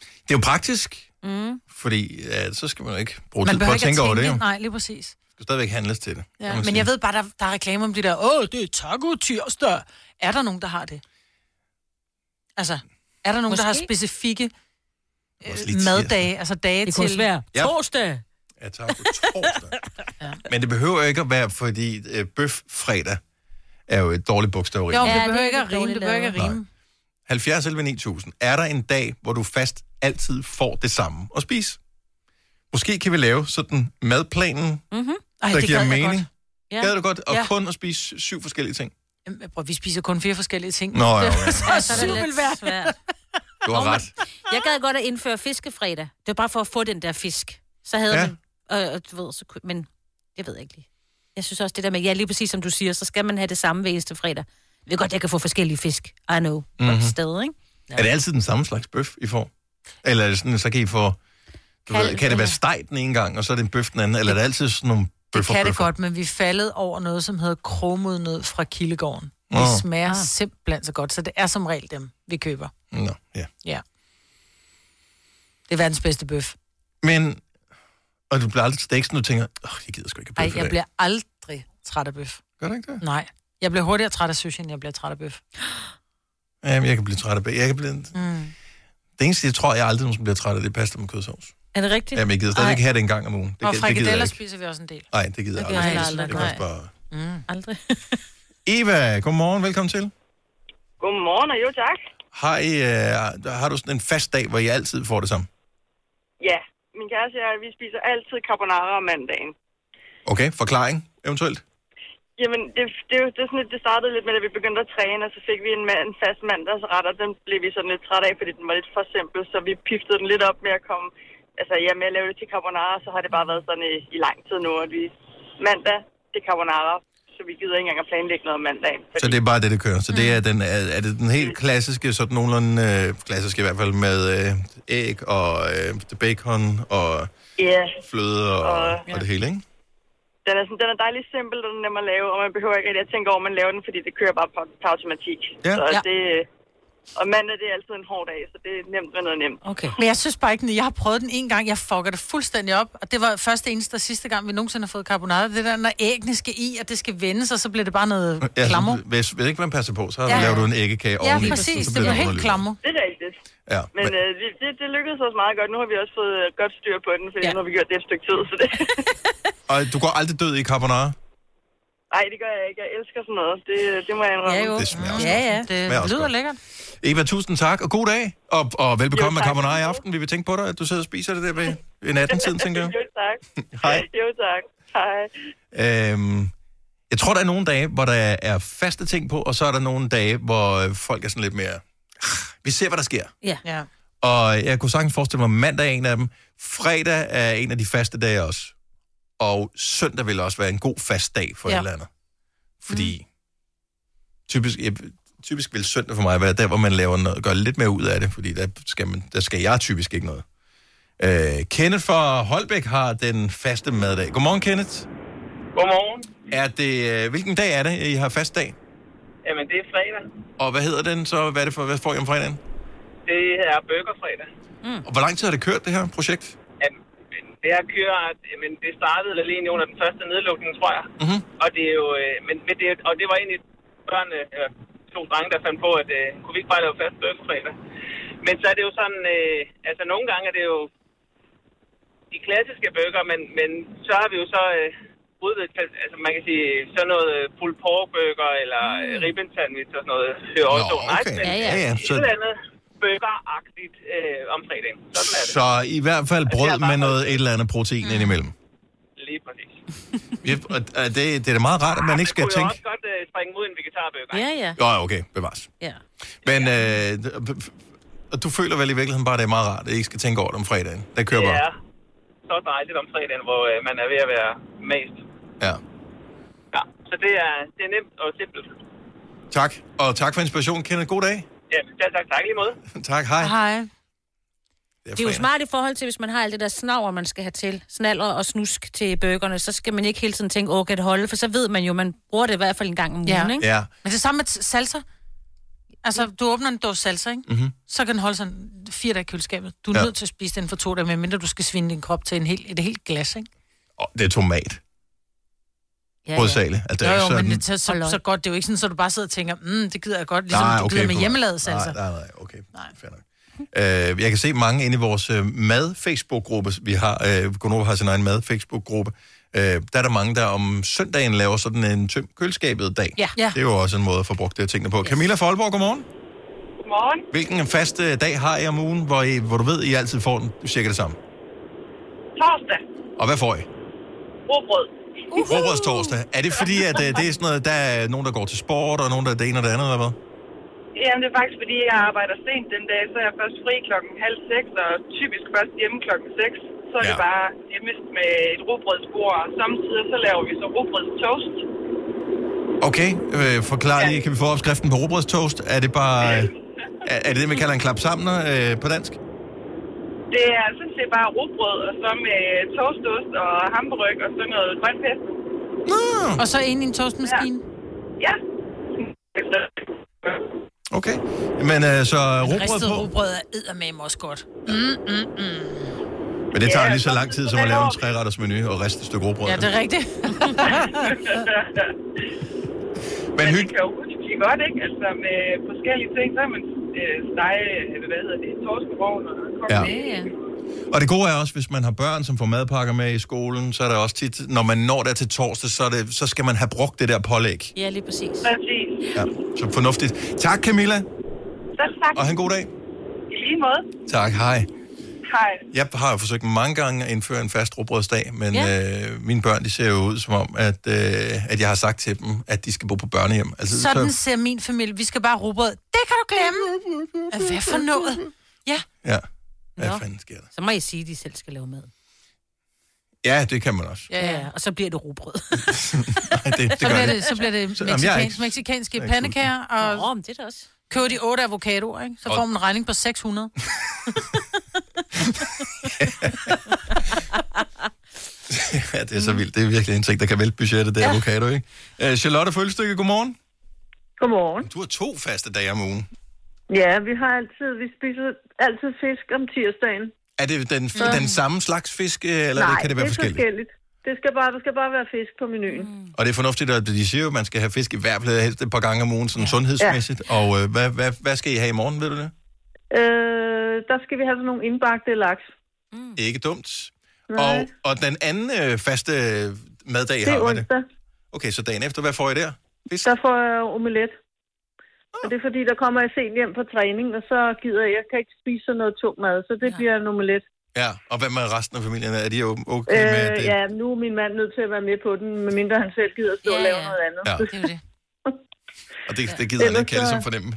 Speaker 1: Det er jo praktisk,
Speaker 2: Mm.
Speaker 1: fordi ja, så skal man jo ikke bruge
Speaker 2: Man
Speaker 1: tid på
Speaker 2: behøver
Speaker 1: at
Speaker 2: ikke
Speaker 1: tænke over det. Jo.
Speaker 2: Nej, lige præcis.
Speaker 1: Det skal stadigvæk handles til det.
Speaker 2: Ja,
Speaker 1: kan man
Speaker 2: men
Speaker 1: sige.
Speaker 2: jeg ved bare, der, der er reklame om det der, åh, det er taco tirsdag. Er der nogen, der har det? Altså, er der nogen, Måske? der har
Speaker 3: Måske.
Speaker 2: specifikke
Speaker 1: Også
Speaker 2: øh,
Speaker 1: lige tirsdag.
Speaker 2: maddage, altså dage
Speaker 3: Det
Speaker 2: til...
Speaker 3: kunne også være
Speaker 1: Ja.
Speaker 3: torsdag.
Speaker 1: Ja, tak. Men det behøver jo ikke at være, fordi øh, bøf fredag er jo et dårligt bogstaveri.
Speaker 2: Jo, men det
Speaker 3: Ja,
Speaker 2: behøver
Speaker 3: det er
Speaker 2: ikke at
Speaker 3: lidt
Speaker 2: rime, det
Speaker 3: dårligt
Speaker 2: behøver ikke at
Speaker 1: lavet.
Speaker 2: rime.
Speaker 1: 70 11 9000. Er der en dag, hvor du fast altid får det samme at spise? Måske kan vi lave sådan madplanen,
Speaker 2: Mm-hmm.
Speaker 1: Ej, der giver mening.
Speaker 2: Ja.
Speaker 1: Gad du godt at
Speaker 2: Ja.
Speaker 1: kun at spise syv forskellige ting?
Speaker 2: Jamen, Prøv, vi spiser kun fire forskellige ting.
Speaker 1: Nå, ja, okay.
Speaker 2: så
Speaker 3: Ja,
Speaker 2: er
Speaker 3: så er det
Speaker 2: super
Speaker 3: lidt
Speaker 2: svært.
Speaker 3: svært.
Speaker 1: Du har ret.
Speaker 3: Jeg gad godt at indføre fiskefredag. Det var bare for at få den der fisk. Så havde
Speaker 1: Ja.
Speaker 3: ja. man... Og, og, du ved, så, kunne- men det ved jeg ikke lige. Jeg synes også, det der med, ja, lige præcis som du siger, så skal man have det samme hver eneste fredag. Jeg ved godt, jeg kan få forskellige fisk. I know. Mm-hmm.
Speaker 1: Mhm.
Speaker 3: På sted, ikke?
Speaker 1: Er det altid den samme slags bøf, I får? Eller er det sådan, så kan I få... Du ved,
Speaker 2: Kalv,
Speaker 1: kan det være
Speaker 2: eller-
Speaker 1: steg den ene gang, og så er det en bøf den anden? Eller er det altid sådan nogle
Speaker 2: Det
Speaker 1: bøffer?
Speaker 2: kan det
Speaker 1: bøffer?
Speaker 2: godt, men vi faldet over noget, som hedder kromodnød fra Kildegården. Det
Speaker 1: Nå.
Speaker 2: smager simpelthen så godt, så det er som regel dem, vi køber.
Speaker 1: Nå, ja.
Speaker 2: Ja. Det er verdens bedste bøf.
Speaker 1: Men... Og du bliver aldrig til dæksen, og du tænker, åh, oh, jeg gider sgu ikke have
Speaker 2: Ej,
Speaker 1: bøf i
Speaker 2: jeg
Speaker 1: dag."
Speaker 2: bliver aldrig træt af bøf.
Speaker 1: Gør du ikke det?
Speaker 2: Nej. Jeg bliver hurtigere træt af sushi, end jeg bliver træt af bøf.
Speaker 1: Jamen, jeg kan blive træt af bøf. Jeg kan blive...
Speaker 2: Mm.
Speaker 1: Det eneste, jeg tror, jeg aldrig nogensinde bliver træt af, det er pasta med kødsovs.
Speaker 3: Er det rigtigt?
Speaker 1: Jamen, jeg gider stadig ikke have det en gang om ugen. Det,
Speaker 2: Og
Speaker 1: gi- det gider jeg
Speaker 2: frikadeller
Speaker 1: ikke.
Speaker 2: spiser vi også en del.
Speaker 1: Nej, det gider jeg
Speaker 2: Det gør
Speaker 1: aldrig.
Speaker 2: jeg
Speaker 1: spise.
Speaker 2: heller
Speaker 1: Det koster
Speaker 2: aldrig,
Speaker 1: bare...
Speaker 2: Mm.
Speaker 3: Aldrig.
Speaker 1: Eva, godmorgen, velkommen til.
Speaker 19: Godmorgen, og jo tak.
Speaker 1: Har, I, øh, har du sådan en fast dag, hvor I altid får det samme?
Speaker 19: Ja, min kæreste og jeg, vi spiser altid carbonara om mandagen.
Speaker 1: Okay, forklaring eventuelt?
Speaker 19: Jamen, det, det, er jo- det, er sådan, lidt- det startede lidt med, at vi begyndte at træne, og så fik vi en, mand, en fast mandagsret, og den blev vi sådan lidt træt af, fordi den var lidt for simpel, så vi piftede den lidt op med at komme... Altså, ja, med at lave det til carbonara, så har det bare været sådan i, i lang tid nu, at vi mandag, det er carbonara, så vi gider ikke engang at planlægge noget om mandagen.
Speaker 1: Så det er bare det, det kører. Så
Speaker 2: Mm.
Speaker 1: det er, den, er, er det den helt klassiske, sådan nogenlunde øh, klassiske i hvert fald, med øh, æg og øh, bacon og
Speaker 19: Ja,
Speaker 1: fløde og, og, og det hele, ikke?
Speaker 19: den er, sådan, den er dejlig simpel, og den er nem at lave, og man behøver ikke rigtig at tænke over, at man laver den, fordi det kører bare på, på automatik.
Speaker 2: Ja.
Speaker 19: Så
Speaker 2: Ja.
Speaker 19: det, og mandag, det er altid en hård dag, så det er nemt med noget nemt.
Speaker 2: Okay. Men jeg synes bare ikke, den- jeg har prøvet den en gang, jeg fucker det fuldstændig op. Og det var første, eneste og sidste gang, vi nogensinde har fået carbonara. Det der, når æggene skal i, og det skal vendes, og så bliver det bare noget
Speaker 1: Ja,
Speaker 2: klammer.
Speaker 1: så, hvis, hvis ikke man passer på, så
Speaker 2: Ja.
Speaker 1: ja. laver du en æggekage oveni.
Speaker 2: Ja, præcis.
Speaker 1: så
Speaker 2: Det
Speaker 1: bliver
Speaker 2: blev
Speaker 1: den
Speaker 2: helt
Speaker 1: underlig.
Speaker 2: klammer.
Speaker 19: Det er rigtigt.
Speaker 1: Ja,
Speaker 19: Men øh, det- det, det lykkedes os meget godt. Nu har vi også fået øh, godt styr på den, for ja. nu har vi gjort det et stykke tid. Så det,
Speaker 1: og du går aldrig død i carbonara?
Speaker 19: ej, det gør jeg ikke. Jeg elsker sådan noget. Det, det må jeg indrømme.
Speaker 1: jo. Det smager også Ja,
Speaker 2: ja. Det
Speaker 1: Smager også lyder godt.
Speaker 2: lækkert.
Speaker 1: Eva, tusind tak, og god dag, og, og velbekomme med carbonara i aften. Vi vil tænke på dig, at du sidder og spiser det der ved ved natten-tiden, tænker jeg.
Speaker 19: Jo, tak.
Speaker 1: Hej.
Speaker 19: Jo, tak. Hej.
Speaker 1: Øhm, jeg tror, der er nogle dage, hvor der er faste ting på, og så er der nogle dage, hvor øh, folk er sådan lidt mere... "Ah, Vi ser, hvad der sker.
Speaker 3: Ja.
Speaker 2: ja.
Speaker 1: Og jeg kunne sagtens forestille mig, at mandag er en af dem. Fredag er en af de faste dage også. Og søndag vil også være en god fast dag for ja.
Speaker 2: Ja.
Speaker 1: et eller andet. Fordi typisk, jeg, typisk vil søndag for mig være der, hvor man laver noget, gør lidt mere ud af det, fordi der skal, man, der skal jeg typisk ikke noget. Øh, Kenneth fra Holbæk har den faste maddag. Godmorgen, Kenneth.
Speaker 20: Godmorgen.
Speaker 1: Er det, øh, hvilken dag er det, I har fast dag?
Speaker 20: Jamen, det er fredag.
Speaker 1: Og hvad hedder den så? Hvad, er det for, hvad får I om fredagen?
Speaker 20: Det er burgerfredag. Mm.
Speaker 1: Og hvor lang tid har det kørt, det her projekt?
Speaker 20: Det her kører, men det startede vel egentlig under den første nedlukning, tror jeg.
Speaker 1: Mm-hmm.
Speaker 20: Og det er jo, øh, men, men det, og det var egentlig børn, øh, to drenge, der fandt på, at øh, kunne vi ikke bare lave fast burgerfredag? Men så er det jo sådan, øh, altså nogle gange er det jo de klassiske bøger, men, men så har vi jo så øh, udvidet, til- altså man kan sige, sådan noget øh, pulled pork burger eller mm. ribben sandwich og sådan noget. Det er jo også
Speaker 1: Nå,
Speaker 20: okay. nice, men
Speaker 1: Ja, ja. Ja, ja,
Speaker 20: så...
Speaker 1: så-
Speaker 20: et eller andet burgeragtigt øh, om fredagen. Sådan er det. Altså,
Speaker 1: Så i hvert fald brød med noget et eller andet protein mm. indimellem.
Speaker 20: Lige præcis.
Speaker 1: Ja, og og det, det er da meget rart, at man ikke skal
Speaker 20: kunne
Speaker 1: tænke...
Speaker 20: jo også godt øh, springe ud i en vegetarbøger.
Speaker 3: Ja, ja.
Speaker 1: Jo, ja, okay, bevares.
Speaker 3: Ja.
Speaker 1: Men øh, d- f- og du føler vel i virkeligheden bare, at det er meget rart, at I ikke skal tænke over det om fredagen. Der kører
Speaker 20: Det
Speaker 1: bare.
Speaker 20: er så dejligt om fredagen, hvor øh, man er ved at være mest.
Speaker 1: Ja.
Speaker 20: Ja, så det er, det er nemt og simpelt.
Speaker 1: Tak, og tak for inspirationen, Kenneth. God dag.
Speaker 20: Ja, tak, tak, tak i lige måde.
Speaker 1: tak, hej.
Speaker 2: Hej.
Speaker 1: Det er,
Speaker 3: Det er jo
Speaker 1: fredag.
Speaker 3: smart i forhold til, hvis man har alt det der snaver, man skal have til, snaller og snusk til burgerne, så skal man ikke hele tiden tænke, åh, kan det holde? For så ved man jo, man bruger det i hvert fald en gang om ugen,
Speaker 2: Ja.
Speaker 3: ikke?
Speaker 1: Ja.
Speaker 2: Men det samme med t- salsa. Altså, du åbner en dåse salsa, ikke?
Speaker 1: Mhm.
Speaker 2: Så kan den holde sådan fire dage i køleskabet. Du er
Speaker 1: Ja.
Speaker 2: nødt til at spise den for to dage, medmindre du skal svinde din krop til en hel, et helt glas, ikke?
Speaker 1: Åh, det er tomat.
Speaker 2: Ja,
Speaker 1: Hovedsageligt. Altså, det
Speaker 2: jo,
Speaker 1: er
Speaker 2: jo,
Speaker 1: ikke
Speaker 2: men
Speaker 1: sådan-
Speaker 2: det tager så, så godt. Det er jo ikke sådan, at du bare sidder og tænker, mm, det gider jeg godt, ligesom
Speaker 1: Nej,
Speaker 2: du
Speaker 1: okay,
Speaker 2: gider med
Speaker 1: forstår.
Speaker 2: hjemmelavet salsa.
Speaker 1: Nej, nej, nej, okay. Nej. Fair nok. Øh, jeg kan se mange inde i vores øh, mad-Facebook-gruppe, vi har, øh, Gunova har sin egen mad-Facebook-gruppe, øh, der er der mange, der om søndagen laver sådan en tøm køleskabet dag.
Speaker 2: Ja. Ja.
Speaker 1: Det er jo også en måde at få brugt det her tingene på. Yes. Camilla Folborg, godmorgen.
Speaker 19: Morgen.
Speaker 1: Hvilken fast øh, dag har I om ugen, hvor, I, hvor du ved, I altid får den, cirka det samme?
Speaker 19: Torsdag.
Speaker 1: Og hvad får I?
Speaker 19: Råbrød.
Speaker 1: Råbrøds Uh-huh. torsdag. Er det fordi, at øh, det er sådan noget, der er nogen, der går til sport, og nogen, der er det ene og det andet, eller hvad?
Speaker 19: Jamen, det er faktisk, fordi jeg arbejder sent den dag, så er jeg først fri klokken halv seks, og typisk først hjemme klokken seks. Så er ja. det bare hjemme med et rugbrødsbord, og samtidig så laver vi så rugbrødstoast.
Speaker 1: Okay, øh, forklar lige, kan vi få opskriften på robrødstoast? Er det bare... Øh, er er det det, man kalder en klap sammen øh, på dansk?
Speaker 19: Det er sådan set bare rugbrød, og så med toastost og hamburg og sådan noget grønt pesto.
Speaker 2: Mm. Og så ind i en toastmaskine.
Speaker 19: Ja.
Speaker 1: Okay. Men øh, så rugbrød
Speaker 2: Ristet
Speaker 1: på?
Speaker 2: rugbrød er eddermame også godt. Mm, mm, mm.
Speaker 1: Men det tager lige så lang tid, som at lave en træretters menu og riste et stykke rugbrød.
Speaker 2: Ja, det er rigtigt.
Speaker 1: Men
Speaker 19: Men det kan jo udskige godt, ikke? Altså med forskellige ting, så kan man øh, stege, øh, hvad hedder det, torskevogn og
Speaker 1: Ja.
Speaker 19: kokke.
Speaker 1: Ja, Og det gode er også, hvis man har børn, som får madpakker med i skolen, så er der også tit, når man når der til torsdag, så, er det, så skal man have brugt det der pålæg.
Speaker 3: Ja, lige præcis.
Speaker 19: Præcis.
Speaker 1: Ja, så fornuftigt. Tak, Camilla,
Speaker 19: Selv tak.
Speaker 1: og have en god dag.
Speaker 19: I lige måde.
Speaker 1: Tak, hej.
Speaker 19: Hej.
Speaker 1: Jeg har jo forsøgt mange gange at indføre en fast råbrødsdag, men
Speaker 2: Ja.
Speaker 1: ja. øh, mine børn, de ser jo ud som om, at, øh, at jeg har sagt til dem, at de skal bo på børnehjem. Altså,
Speaker 2: Sådan ser min familie. Vi skal bare have rugbrød. Det kan du glemme. Ah, Hvad for noget? Ja.
Speaker 1: Ja. Hvad
Speaker 3: Nå.
Speaker 1: fanden sker der?
Speaker 3: Så må I sige, at de selv skal lave mad.
Speaker 1: Ja, det kan man også.
Speaker 2: Ja, ja.
Speaker 3: Og så bliver det rugbrød.
Speaker 1: Nej, det, det
Speaker 2: så,
Speaker 1: gør
Speaker 2: bliver
Speaker 1: jeg
Speaker 2: det,
Speaker 1: ikke.
Speaker 2: så bliver det
Speaker 1: Så- jamen, jeg er
Speaker 2: mexikansk,
Speaker 1: ikke-
Speaker 2: mexikanske
Speaker 1: jeg er ikke
Speaker 2: pandekager, og
Speaker 3: Nå, men det er også.
Speaker 2: køber de otte avocadoer, ikke? så
Speaker 1: Og-
Speaker 2: får man en regning på 600.
Speaker 1: Ja, det er så vildt. Det er virkelig en ting, der kan vælte budgettet, det er ja. avocado, ikke? Øh, Charlotte Følstykke, godmorgen.
Speaker 21: Godmorgen.
Speaker 1: Du har to faste dage om ugen.
Speaker 21: Ja, vi har altid, vi spiser altid fisk om tirsdagen.
Speaker 1: Er det den,
Speaker 21: Ja.
Speaker 1: den samme slags fisk, øh, eller
Speaker 21: Nej,
Speaker 1: Nej, kan det være
Speaker 21: det er
Speaker 1: forskelligt?
Speaker 21: forskelligt. Det skal bare, der skal bare være fisk på menuen. Mm.
Speaker 1: Og det er fornuftigt, at de siger jo, at man skal have fisk i hvert fald helst et par gange om ugen, sådan ja. sundhedsmæssigt. Ja. Og øh, hvad, hvad, hvad skal I have i morgen, ved du det?
Speaker 21: Øh, der skal vi have sådan nogle indbagte laks.
Speaker 1: Mm. Ikke dumt.
Speaker 21: Nej.
Speaker 1: Og, og den anden øh, faste øh, maddag,
Speaker 21: det
Speaker 1: har
Speaker 21: er
Speaker 1: man det?
Speaker 21: onsdag.
Speaker 1: Okay, så dagen efter, hvad får I der?
Speaker 21: Der får jeg omelet.
Speaker 1: Ah.
Speaker 21: Og det er fordi, der kommer jeg sent hjem fra træning, og så gider jeg, jeg kan ikke spise sådan noget tung mad, så det ja. bliver en omelet.
Speaker 1: Ja, og hvad med resten af familien? Er de jo okay øh, med
Speaker 21: Øh,
Speaker 1: det?
Speaker 21: ja, nu er min mand nødt til at være med på den, medmindre han selv gider stå ja, og lave noget andet.
Speaker 1: Ja. Det
Speaker 2: er det.
Speaker 1: Og det, det gider han
Speaker 21: Ellers
Speaker 1: ikke kalde
Speaker 21: så-
Speaker 1: som fornemme.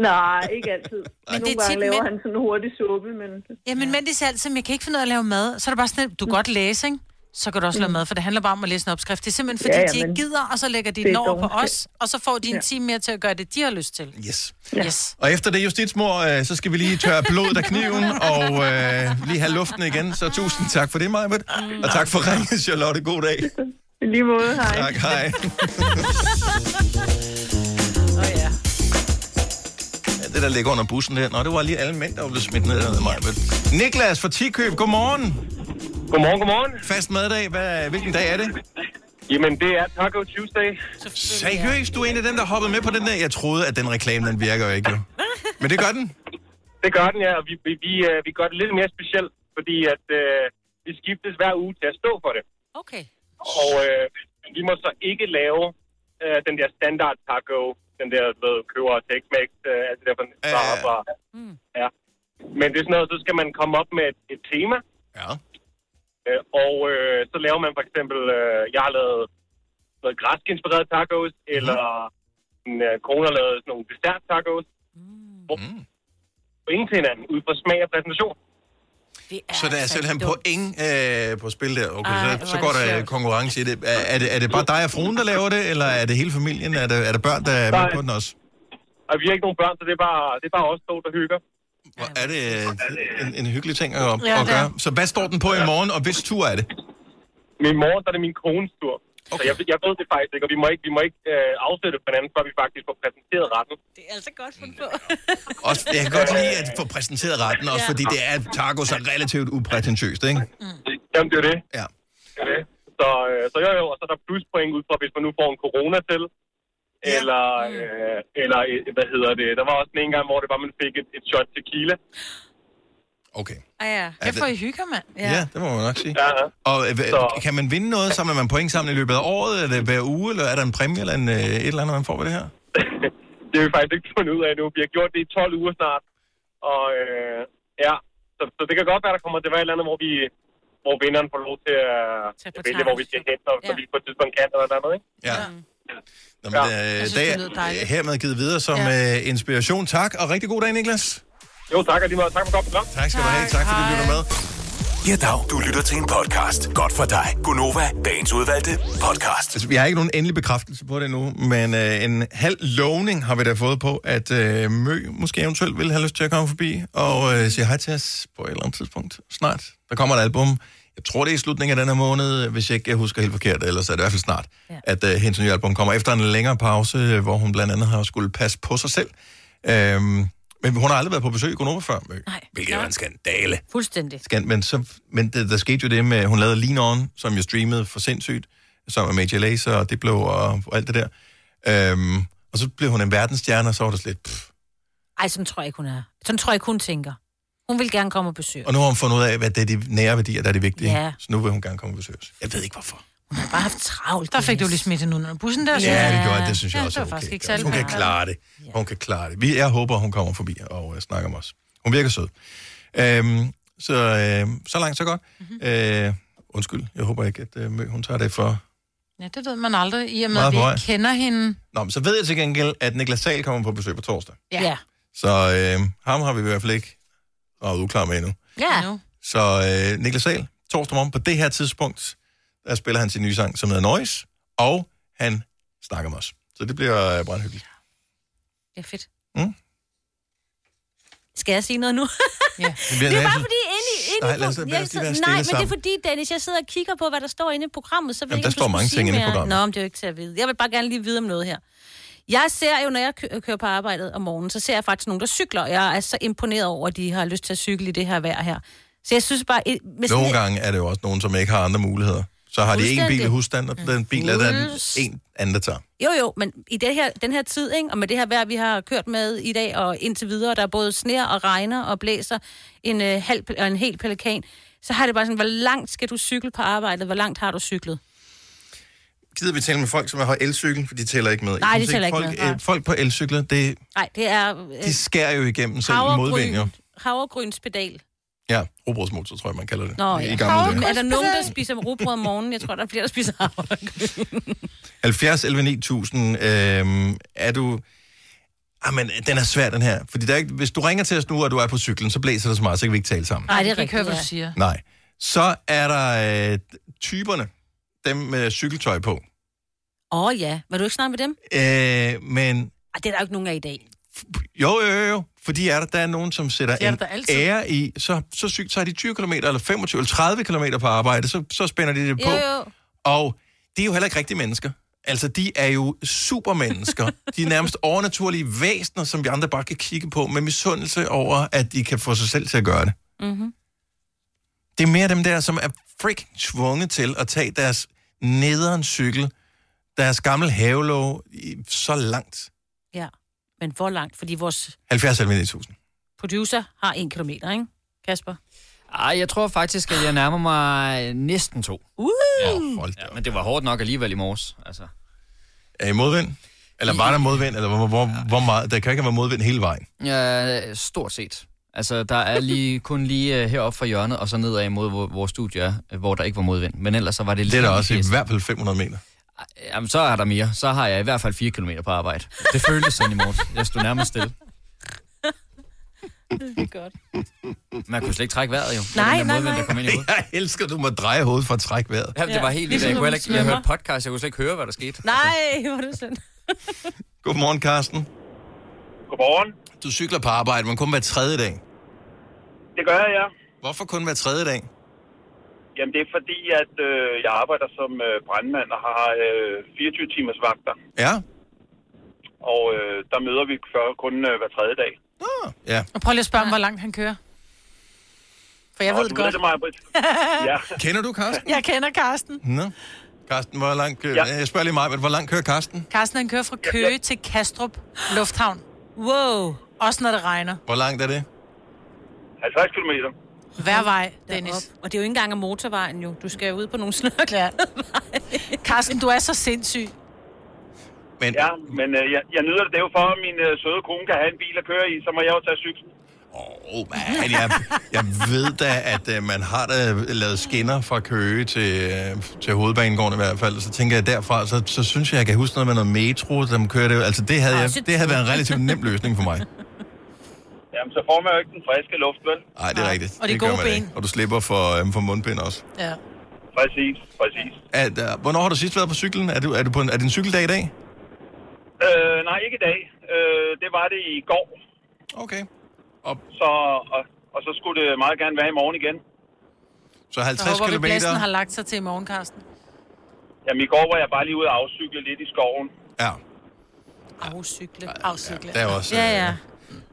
Speaker 21: Nej, ikke altid.
Speaker 2: Men
Speaker 21: Nogle
Speaker 2: det er tit
Speaker 21: gange laver
Speaker 2: mænd-
Speaker 21: han sådan en hurtig suppe, men...
Speaker 2: Jamen, men det er altid, men jeg kan ikke finde ud af at lave mad. Så er det bare sådan, at
Speaker 21: Mm.
Speaker 2: du kan godt læse, ikke? Så kan du også lave mad, for det handler bare om at læse en opskrift. Det er simpelthen fordi,
Speaker 21: Ja,
Speaker 2: ja,
Speaker 21: ja,
Speaker 2: ja, de ikke
Speaker 21: men
Speaker 2: gider, og så lægger de
Speaker 21: det er
Speaker 2: den over på
Speaker 21: dogenskab.
Speaker 2: os, og så får de en time mere til at gøre det, de har lyst til.
Speaker 1: Yes.
Speaker 2: Yes.
Speaker 1: Og efter det justitsmor, øh, så skal vi lige tørre blodet af kniven og øh, lige have luften igen. Så tusind tak for det, Majbert. Og tak for ringet, Charlotte. God dag.
Speaker 21: I lige måde, hej.
Speaker 1: Tak, hej. Ja, Det, der ligger under bussen der. Nå, det var lige alle mænd, der blev smidt ned af mig. Niklas fra Tikøb, godmorgen.
Speaker 22: Godmorgen, godmorgen.
Speaker 1: Fast maddag. Hvad, hvilken dag er det?
Speaker 22: Jamen, det er Taco Tuesday.
Speaker 1: Seriøst, du er en af dem, der hoppede med på den der. Jeg troede, at den reklame, den virker jo ikke. jo. Men det gør den.
Speaker 22: Det gør den, ja, og vi, vi, vi, øh, vi gør det lidt mere specielt, fordi at øh, vi skiftes hver uge til at stå for det.
Speaker 3: Okay.
Speaker 22: Og øh, vi må så ikke lave øh, den der standard taco, den der, du ved, køber og Tex-Mex, øh, alt det der fra øh. bar. Ja. Men det er sådan noget, så skal man komme op med et, et tema.
Speaker 1: Ja.
Speaker 22: Øh, og øh, så laver man for eksempel, øh, jeg har lavet noget græsk-inspireret tacos,
Speaker 1: Mhm.
Speaker 22: mm. eller en øh, kone har lavet sådan nogle dessert-tacos. Mm. Hvor ingen til hinanden, ud fra smag og præsentation.
Speaker 1: Så der er simpelthen point øh, på spil der. Okay,
Speaker 22: Ej,
Speaker 1: Ej,
Speaker 22: hvor
Speaker 1: så,
Speaker 22: er
Speaker 1: så
Speaker 22: det
Speaker 1: går der øh,
Speaker 22: sjovt.
Speaker 1: konkurrence i det. Er, er det. er det bare dig og fruen, der laver det, eller er det hele familien? Er der, er der børn, der er med
Speaker 22: Nej.
Speaker 1: på den også?
Speaker 22: Og vi har ikke nogen børn, så det er bare, det er bare os to, der hygger.
Speaker 1: Hvor er det øh, en, en hyggelig ting at,
Speaker 22: Ja,
Speaker 1: ja, at
Speaker 22: det er.
Speaker 1: gøre. Så hvad står den på i morgen, og hvis tur er det?
Speaker 22: Men i morgen, der er det min kones tur. Okay. Så jeg, jeg ved det faktisk ikke, og vi må ikke, vi må ikke øh, afsætte for hinanden, før vi faktisk får præsenteret retten.
Speaker 3: Det er altså godt fundet på.
Speaker 1: Også, jeg kan godt lide at få præsenteret retten, også
Speaker 22: Ja.
Speaker 1: fordi det er tacos er relativt uprætentiøst, ikke?
Speaker 22: Jamen, det er jo det.
Speaker 1: Ja.
Speaker 22: Det er det. Så, øh, så jo, jo, og så er der pluspoint ud fra, hvis man nu får en corona til. Eller, øh, eller, øh, hvad hedder det, der var også en gang, hvor det var, man fik et, et shot tequila.
Speaker 2: Ah, ja. Jeg får I hygger, mand.
Speaker 1: Ja, ja det må man nok sige. Ja. Og øh, hva- kan man vinde noget? Samler man point sammen i løbet af året? Er det hver uge, eller er der en præmie, eller en, øh, et eller andet, man får ved det her?
Speaker 22: Det har vi faktisk ikke fundet ud af nu. Vi har gjort det i 12 uger snart. Og øh, ja, så, så det kan godt være, der kommer det var et eller andet, hvor vi hvor vinderen får lov til at, at vælge, hvor vi skal hen, og så vi på et tidspunkt kan eller noget andet, ikke?
Speaker 1: Ja. Nå, men, ja. Øh,
Speaker 22: Jeg synes,
Speaker 1: det
Speaker 22: det
Speaker 1: er
Speaker 22: lyder dejligt.
Speaker 1: hermed givet videre som
Speaker 22: Ja.
Speaker 1: ja. øh, inspiration. Tak, og rigtig god dag, Niklas.
Speaker 22: Jo, tak, og lige meget. Tak for kommet.
Speaker 1: Tak skal du have. Tak, fordi du lytter med.
Speaker 5: Ja, dag. Du lytter til en podcast. Godt for dig. Gunova, dagens udvalgte podcast.
Speaker 1: Altså, vi har ikke nogen endelig bekræftelse på det nu, men øh, en halv lovning har vi da fået på, at øh, Mø måske eventuelt vil have lyst til at komme forbi og øh, sige hej til os på et eller andet tidspunkt snart. Der kommer et album. Jeg tror, det er i slutningen af den her måned, hvis ikke jeg husker helt forkert, ellers er det i hvert fald snart, ja. at øh, hendes nye album kommer efter en længere pause, øh, hvor hun blandt andet har skulle passe på sig selv. Øhm, men hun har aldrig været på besøg i Gonova før, Mø. Nej. Hvilket er en skandale.
Speaker 3: Fuldstændig.
Speaker 1: Skal, men så, men det, der skete jo det med, hun lavede Lean On, som jo streamede for sindssygt, sammen med Major Lazer og det blev og, og alt det der. Øhm, og så blev hun en verdensstjerne, og så var det slet, pff.
Speaker 3: Ej, sådan tror jeg ikke, hun er. Sådan tror jeg ikke, hun tænker. Hun vil gerne komme og besøge.
Speaker 1: Og nu har hun fundet ud af, hvad det er de nære værdier, der er det vigtige.
Speaker 3: Ja.
Speaker 1: Så nu vil hun gerne komme og besøge os. Jeg ved ikke, hvorfor.
Speaker 3: Hun har bare haft travlt.
Speaker 2: Der fik du lige smidt hende under bussen der.
Speaker 1: Ja,
Speaker 2: synes
Speaker 1: ja
Speaker 2: jeg.
Speaker 1: det gjorde jeg. Det synes jeg
Speaker 2: Ja,
Speaker 1: også
Speaker 2: det var
Speaker 1: er
Speaker 2: faktisk
Speaker 1: okay.
Speaker 2: ikke særlig
Speaker 1: hun kan
Speaker 2: meget.
Speaker 1: klare det. Hun kan klare det. Vi, jeg håber, hun kommer forbi og uh, snakker med os. Hun virker sød. Øhm, så, øh, så langt, så godt. Mm-hmm. Øh, undskyld, jeg håber ikke, at øh, Mø, hun tager det for...
Speaker 2: Ja, det ved man aldrig, i og med,
Speaker 1: Meget
Speaker 2: at vi
Speaker 1: på
Speaker 2: ikke kender hende.
Speaker 1: Nå, men så ved jeg til gengæld, at Niklas Sal kommer på besøg på torsdag.
Speaker 2: Ja. Ja.
Speaker 1: Så øh, ham har vi i hvert fald ikke raget uklar med endnu.
Speaker 3: ja.
Speaker 1: Så øh, Niklas Sal, torsdag morgen på det her tidspunkt, der spiller han sin nye sang, som hedder Noise, og han snakker med os. Så det bliver øh, brandhyggeligt.
Speaker 3: Det er fedt.
Speaker 1: Mm.
Speaker 3: Skal jeg sige noget nu?
Speaker 2: ja.
Speaker 3: Det er bare fordi inde i... Inde i
Speaker 1: Nej, lad os- lad os
Speaker 3: jeg
Speaker 1: lige
Speaker 3: sidder-
Speaker 1: være stille
Speaker 3: Nej, men det
Speaker 1: sammen.
Speaker 3: er fordi, Dennis, jeg sidder og kigger på, hvad der står inde i programmet. Så ved jeg
Speaker 1: Jamen,
Speaker 3: ikke,
Speaker 1: der
Speaker 3: om du
Speaker 1: står
Speaker 3: skulle
Speaker 1: mange
Speaker 3: sige
Speaker 1: ting inde i
Speaker 3: mere.
Speaker 1: programmet.
Speaker 3: Nå, men det er jo ikke til at vide. Jeg vil bare gerne lige vide om noget her. Jeg ser jo, når jeg kø- kører på arbejdet om morgenen, så ser jeg faktisk nogen, der cykler. Og jeg er så imponeret over, at de har lyst til at cykle i det her vejr her. Så jeg synes bare... et- Med sådan
Speaker 1: Nogle
Speaker 3: et-
Speaker 1: gange er det jo også nogen, som ikke har andre muligheder. Så har de en bil i
Speaker 3: Fuldstændig.
Speaker 1: husstand, og den bil er den
Speaker 3: Fuldst-
Speaker 1: en anden, der tager.
Speaker 3: Jo, jo, men i det her, den her tid, ikke, og med det her vejr, vi har kørt med i dag og indtil videre, der er både sner og regner og blæser en, øh, halv, og en hel pelikan, så har det bare sådan, hvor langt skal du cykle på arbejdet? Hvor langt har du cyklet?
Speaker 1: Gider vi tale med folk, som har elcykel, for de tæller ikke med. Jeg
Speaker 3: Nej, de
Speaker 1: synes
Speaker 3: tæller ikke
Speaker 1: folk,
Speaker 3: med, nej.
Speaker 1: øh, folk på elcykler, det,
Speaker 3: Nej, det er øh,
Speaker 1: de skærer jo igennem selv modvind, jo.
Speaker 3: havregryn, havregryns pedal.
Speaker 1: Ja, robotsmotor, tror jeg, man kalder det.
Speaker 3: Nå,
Speaker 1: I
Speaker 3: ja.
Speaker 1: gamle
Speaker 3: Er der
Speaker 1: dage.
Speaker 3: nogen, der spiser rugbrød om morgenen? Jeg tror, der er flere, der spiser havregryn.
Speaker 1: 70, 11, 9000. Øhm, er du... Jamen, den er svær, den her. Fordi der er ikke... hvis du ringer til os nu, og du er på cyklen, så blæser det så meget, så kan vi ikke tale sammen.
Speaker 2: Nej, det er rigtigt, høre, hvad du siger.
Speaker 1: Nej. Så er der øh, typerne, dem med cykeltøj på.
Speaker 3: Åh oh, ja, var du ikke snart med dem?
Speaker 1: Øh, men
Speaker 3: Ej, det er der jo ikke nogen af i dag.
Speaker 1: Jo, jo, jo, jo. Fordi er der, der er nogen, som sætter
Speaker 3: Det er
Speaker 1: en
Speaker 3: der da altid.
Speaker 1: ære i, så, så sygt tager de 20 km, eller 25, eller 30 km på arbejde, så, så spænder de det på.
Speaker 3: Jo, jo.
Speaker 1: Og det er jo heller ikke rigtige mennesker. Altså, de er jo supermennesker. de er nærmest overnaturlige væsener, som vi andre bare kan kigge på med misundelse over, at de kan få sig selv til at gøre det.
Speaker 3: Mm-hmm.
Speaker 1: Det er mere dem der, som er freaking tvunget til at tage deres nederen cykel, deres gamle havelov, i- så langt.
Speaker 3: Ja, men hvor langt? Fordi vores
Speaker 1: 70 9000.
Speaker 3: producer har en kilometer, ikke? Kasper?
Speaker 4: Ej, jeg tror faktisk, at jeg nærmer mig næsten to.
Speaker 3: Uh!
Speaker 4: Ja, ja, men det var hårdt nok alligevel i morges. Altså.
Speaker 1: Er I modvind? Eller var der modvind? Eller hvor, hvor, hvor meget? Der kan ikke have været modvind hele vejen.
Speaker 4: Ja, stort set. Altså, der er lige, kun lige uh, heroppe fra hjørnet, og så nedad imod hvor, vores studie er, øh, hvor der ikke var modvind. Men ellers så var det
Speaker 1: Det er der også i hvert fald 500 meter.
Speaker 4: Jamen, så er der mere. Så har jeg i hvert fald 4 km på arbejde. Det føltes sådan i morges. Jeg stod nærmest stille.
Speaker 3: Det er godt.
Speaker 4: Man kunne slet ikke trække vejret, jo. Det var
Speaker 3: Nej,
Speaker 4: den
Speaker 3: nej,
Speaker 4: der modvind,
Speaker 3: nej.
Speaker 4: Der kom ind i hovedet.
Speaker 1: Jeg elsker, at du må dreje hovedet for at trække vejret.
Speaker 4: Ja, det var helt vildt.
Speaker 1: Ligesom
Speaker 4: Jeg,
Speaker 1: når
Speaker 4: kunne
Speaker 1: man
Speaker 4: heller ikke, jeg hørte
Speaker 1: svømmer.
Speaker 4: podcast, jeg kunne slet ikke høre, hvad der skete.
Speaker 3: Nej, hvor er du synd.
Speaker 1: Godmorgen, Karsten.
Speaker 12: Godmorgen.
Speaker 1: Du cykler på arbejde, men kun hver tredje dag.
Speaker 12: Det gør jeg, ja.
Speaker 1: Hvorfor kun hver tredje dag?
Speaker 12: Jamen, det er fordi, at øh, jeg arbejder som øh, brandmand og har øh, 24 timers vagter.
Speaker 1: Ja.
Speaker 12: Og øh, der møder vi før, kun øh, hver tredje dag.
Speaker 1: Ja.
Speaker 2: Og prøv lige at spørge ham, hvor langt han kører. For jeg
Speaker 12: Nå,
Speaker 2: ved
Speaker 12: du
Speaker 2: det godt.
Speaker 12: ved det, Maj-Brit. Ja.
Speaker 1: Kender du Karsten?
Speaker 2: Jeg kender Karsten.
Speaker 1: Nå. Karsten, hvor langt kører... Ja. Jeg spørger lige mig, men hvor langt kører Karsten?
Speaker 2: Karsten, han kører fra Køge til Kastrup Lufthavn.
Speaker 3: Wow.
Speaker 2: Også når det regner.
Speaker 1: Hvor langt er det?
Speaker 12: 50 km.
Speaker 2: Hver vej, Dennis.
Speaker 3: Og det er jo ikke engang af motorvejen jo. Du skal jo ud på nogle snørklade.
Speaker 2: Karsten, du er så sindssyg.
Speaker 1: Men...
Speaker 12: Ja, men øh, jeg, jeg nyder det. Det er jo for, at min øh, søde kone kan have en bil at køre i, så må jeg jo tage cyklen.
Speaker 1: Åh, oh, man, jeg, jeg ved da, at øh, man har da lavet skinner fra Køge til, øh, til hovedbanegården i hvert fald. Så tænker jeg derfra, så, så synes jeg, jeg kan huske noget med noget metro, som kører det. Altså, det havde, jeg, det havde været en relativt nem løsning for mig.
Speaker 12: Ja, jamen, så får man jo ikke den friske luft, vel?
Speaker 1: Nej, det er rigtigt.
Speaker 12: Og de
Speaker 1: det gør
Speaker 12: gode
Speaker 1: man ikke. Og du slipper for, øhm, for mundbind også.
Speaker 2: Ja.
Speaker 12: Præcis, præcis.
Speaker 1: At, uh, hvornår har du sidst været på cyklen? Er, du, er, du på en, er det en cykeldag i dag?
Speaker 12: Øh, nej, ikke i dag. Øh, det var det i går.
Speaker 1: Okay. Og...
Speaker 12: Så, og, og så skulle det meget gerne være i morgen igen.
Speaker 1: Så
Speaker 2: Jeg
Speaker 1: 50
Speaker 2: håber, at
Speaker 1: km.
Speaker 2: blæsten har lagt sig til i morgen, Karsten.
Speaker 12: Jamen i går var jeg bare lige ude og afcykle lidt i skoven.
Speaker 1: Ja.
Speaker 2: Afcykle. Afcykle.
Speaker 1: Der er også,
Speaker 2: Ja,
Speaker 1: øh,
Speaker 2: ja.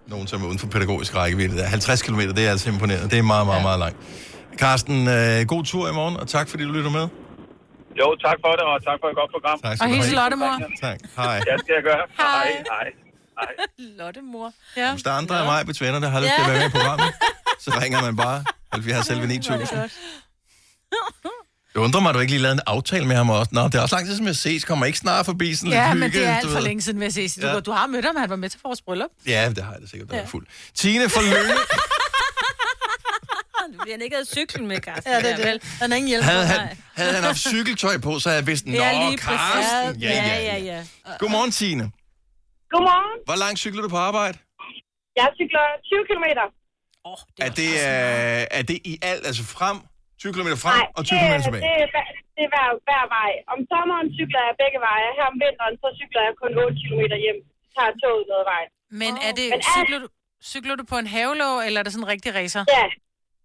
Speaker 1: Nogen, som er uden for pædagogisk rækkevidde. Der. 50 km, det er altså imponerende. Det er meget, meget, meget langt. Carsten, øh, god tur i morgen, og tak fordi du lytter med.
Speaker 12: Jo, tak for det, og tak for et godt program.
Speaker 1: Tak skal Og du hils have.
Speaker 2: Lottemor.
Speaker 1: Tak. Hej.
Speaker 12: Ja, det skal jeg gøre. Hej. Hej.
Speaker 2: Lottemor. Ja.
Speaker 1: Hvis der er andre af mig betvænder, der har lyst til at være med i programmet, så ringer man bare 70 selv 9000. Det undrer mig, at du ikke lige lavede en aftale med ham også. Nå, det er også lang tid, som jeg ses. Kommer ikke snart forbi sådan
Speaker 2: Ja,
Speaker 1: lidt
Speaker 2: men det
Speaker 1: hygge,
Speaker 2: er
Speaker 1: du
Speaker 2: alt for
Speaker 1: ved.
Speaker 2: længe siden, vil jeg sige. Du,
Speaker 1: Ja.
Speaker 2: du har mødt ham, han var med til vores bryllup.
Speaker 1: Ja, det har jeg da sikkert, der ja.
Speaker 2: Ja.
Speaker 1: er fuld. Tine fra Lønge.
Speaker 3: Du bliver ikke havde cyklen med, Karsten.
Speaker 2: Ja, det er det. Han har ingen hjælp.
Speaker 1: Havde han, havde han haft cykeltøj på, så havde jeg vidst, nå, Karsten. Ja, ja, ja.
Speaker 3: ja.
Speaker 1: Godmorgen, Tine.
Speaker 11: Godmorgen.
Speaker 1: Hvor langt cykler du på arbejde?
Speaker 11: Jeg cykler 20 km.
Speaker 1: Det er, er, det, øh, er det i alt, altså frem, 20 km frem Nej, og 20 km
Speaker 2: øh,
Speaker 11: det,
Speaker 1: tilbage?
Speaker 11: det, er hver- det er hver, hver vej. Om sommeren cykler jeg begge veje. Her om vinteren, så cykler jeg kun 8 km hjem. Tager toget noget vej.
Speaker 2: Men er det,
Speaker 11: Men alt-
Speaker 2: cykler du, cykler du på en havelåg, eller er det sådan en rigtig racer?
Speaker 11: Ja.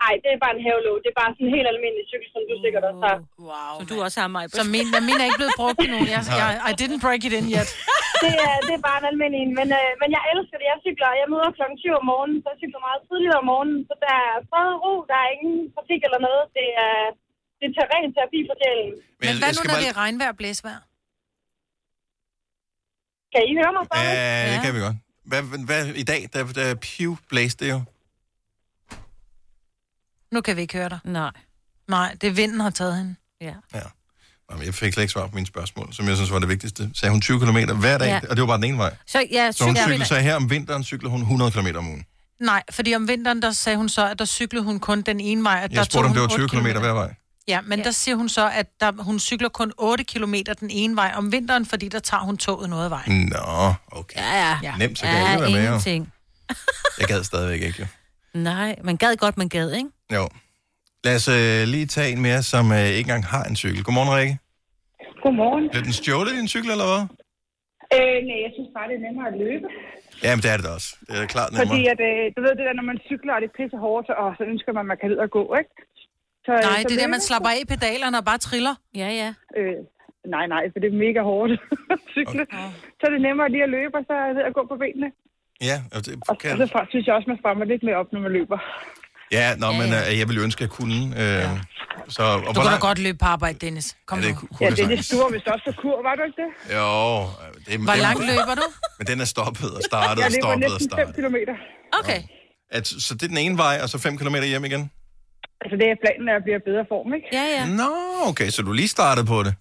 Speaker 11: Nej, det er bare en havelåg. Det er bare sådan en helt almindelig cykel, som du sikkert også har.
Speaker 2: Wow.
Speaker 3: Som du også har mig.
Speaker 2: Så min, men min er ikke blevet brugt endnu. Jeg, jeg, I didn't break it in yet.
Speaker 11: Det er, det er bare en almindelig en. Men, øh, men jeg elsker det. Jeg cykler. Jeg møder klokken 7 om morgenen, så jeg cykler meget tidligt om morgenen. Så der er fred og ro. Der er ingen trafik eller noget. Det er, det er terræn terapi for sjælen.
Speaker 2: Men
Speaker 1: jeg
Speaker 2: hvad nu,
Speaker 1: skal
Speaker 2: når
Speaker 1: bare-
Speaker 2: det er regnvejr og blæsvejr?
Speaker 11: Kan I høre mig? Så?
Speaker 1: Ja, det kan vi godt. Hvad, hvad, I dag, der, der pivblæste det jo.
Speaker 2: Nu kan vi ikke høre dig.
Speaker 3: Nej.
Speaker 2: Nej, det er vinden har taget hende.
Speaker 3: Ja.
Speaker 1: Nå, men Jeg fik slet ikke svar på mine spørgsmål, som jeg synes var det vigtigste. Sagde hun 20 km hver dag,
Speaker 2: Ja.
Speaker 1: ja. og det var bare den ene vej.
Speaker 3: Så, ja,
Speaker 1: Så hun
Speaker 2: cykler-
Speaker 1: cykler, så her om vinteren cykler hun 100 km om ugen.
Speaker 2: Nej, fordi om vinteren, der sagde hun så, at der cyklede hun kun den ene vej. At der
Speaker 1: Jeg spurgte,
Speaker 2: tog
Speaker 1: om det var
Speaker 2: hun
Speaker 1: 20
Speaker 2: otte
Speaker 1: km hver vej.
Speaker 2: Ja, men ja. der siger hun så, at der, hun cykler kun 8 km den ene vej om vinteren, fordi der tager hun toget noget af vejen.
Speaker 1: Nå, okay.
Speaker 3: Ja,
Speaker 2: ja.
Speaker 1: Nemt, så kan jeg ikke være med, jo.
Speaker 3: ingenting.
Speaker 1: Jeg gad stadigvæk ikke, jo.
Speaker 3: Nej, man gad godt, man gad, ikke?
Speaker 1: jo. Lad os øh, lige tage en mere, som øh, ikke engang har en cykel. Godmorgen, Rikke.
Speaker 11: Godmorgen.
Speaker 1: Blev den stjålet, din cykel, eller hvad?
Speaker 11: Øh, nej, jeg synes bare, det er nemmere at løbe.
Speaker 1: Jamen, det er det da også. Det er klart nemmere.
Speaker 6: Fordi at, øh, du ved det der, når man cykler, og det er pisse hårdt, og så ønsker man, at man kan ud og gå, ikke? Så, øh,
Speaker 2: Nej,
Speaker 6: så
Speaker 2: det er der,
Speaker 6: løbe-
Speaker 2: man slapper af i pedalerne og bare triller.
Speaker 3: Ja, ja.
Speaker 6: Øh, nej, nej, for det er mega hårdt at cykle. Så er det nemmere lige at løbe, og så ved at gå på benene.
Speaker 1: Ja, og det
Speaker 6: Og, og
Speaker 1: kan...
Speaker 6: så fra- synes jeg også, man strammer lidt mere op, når man løber.
Speaker 1: Ja, nå, men øh, jeg ville ønske, at jeg kunne. Øh, ja. så, og
Speaker 2: Du kan da godt løbe på arbejde, Dennis. Kom
Speaker 1: Ja,
Speaker 2: nu.
Speaker 1: det kunne jeg sagtens.
Speaker 6: Du var vist også på kur, var du ikke det?
Speaker 1: Jo, øh, det,
Speaker 2: Hvor
Speaker 1: den-
Speaker 2: langt løber du?
Speaker 1: Men den er stoppet og
Speaker 6: Ja,
Speaker 1: startet og
Speaker 6: det var
Speaker 1: stoppet og
Speaker 6: næsten 5
Speaker 1: startet.
Speaker 6: kilometer.
Speaker 2: Okay.
Speaker 1: At, så det er den ene vej, og så 5 km hjem igen?
Speaker 6: Altså, det er planen, at jeg bliver i bedre form, ikke?
Speaker 3: Ja, ja.
Speaker 1: Nå, okay, så du lige startede på det.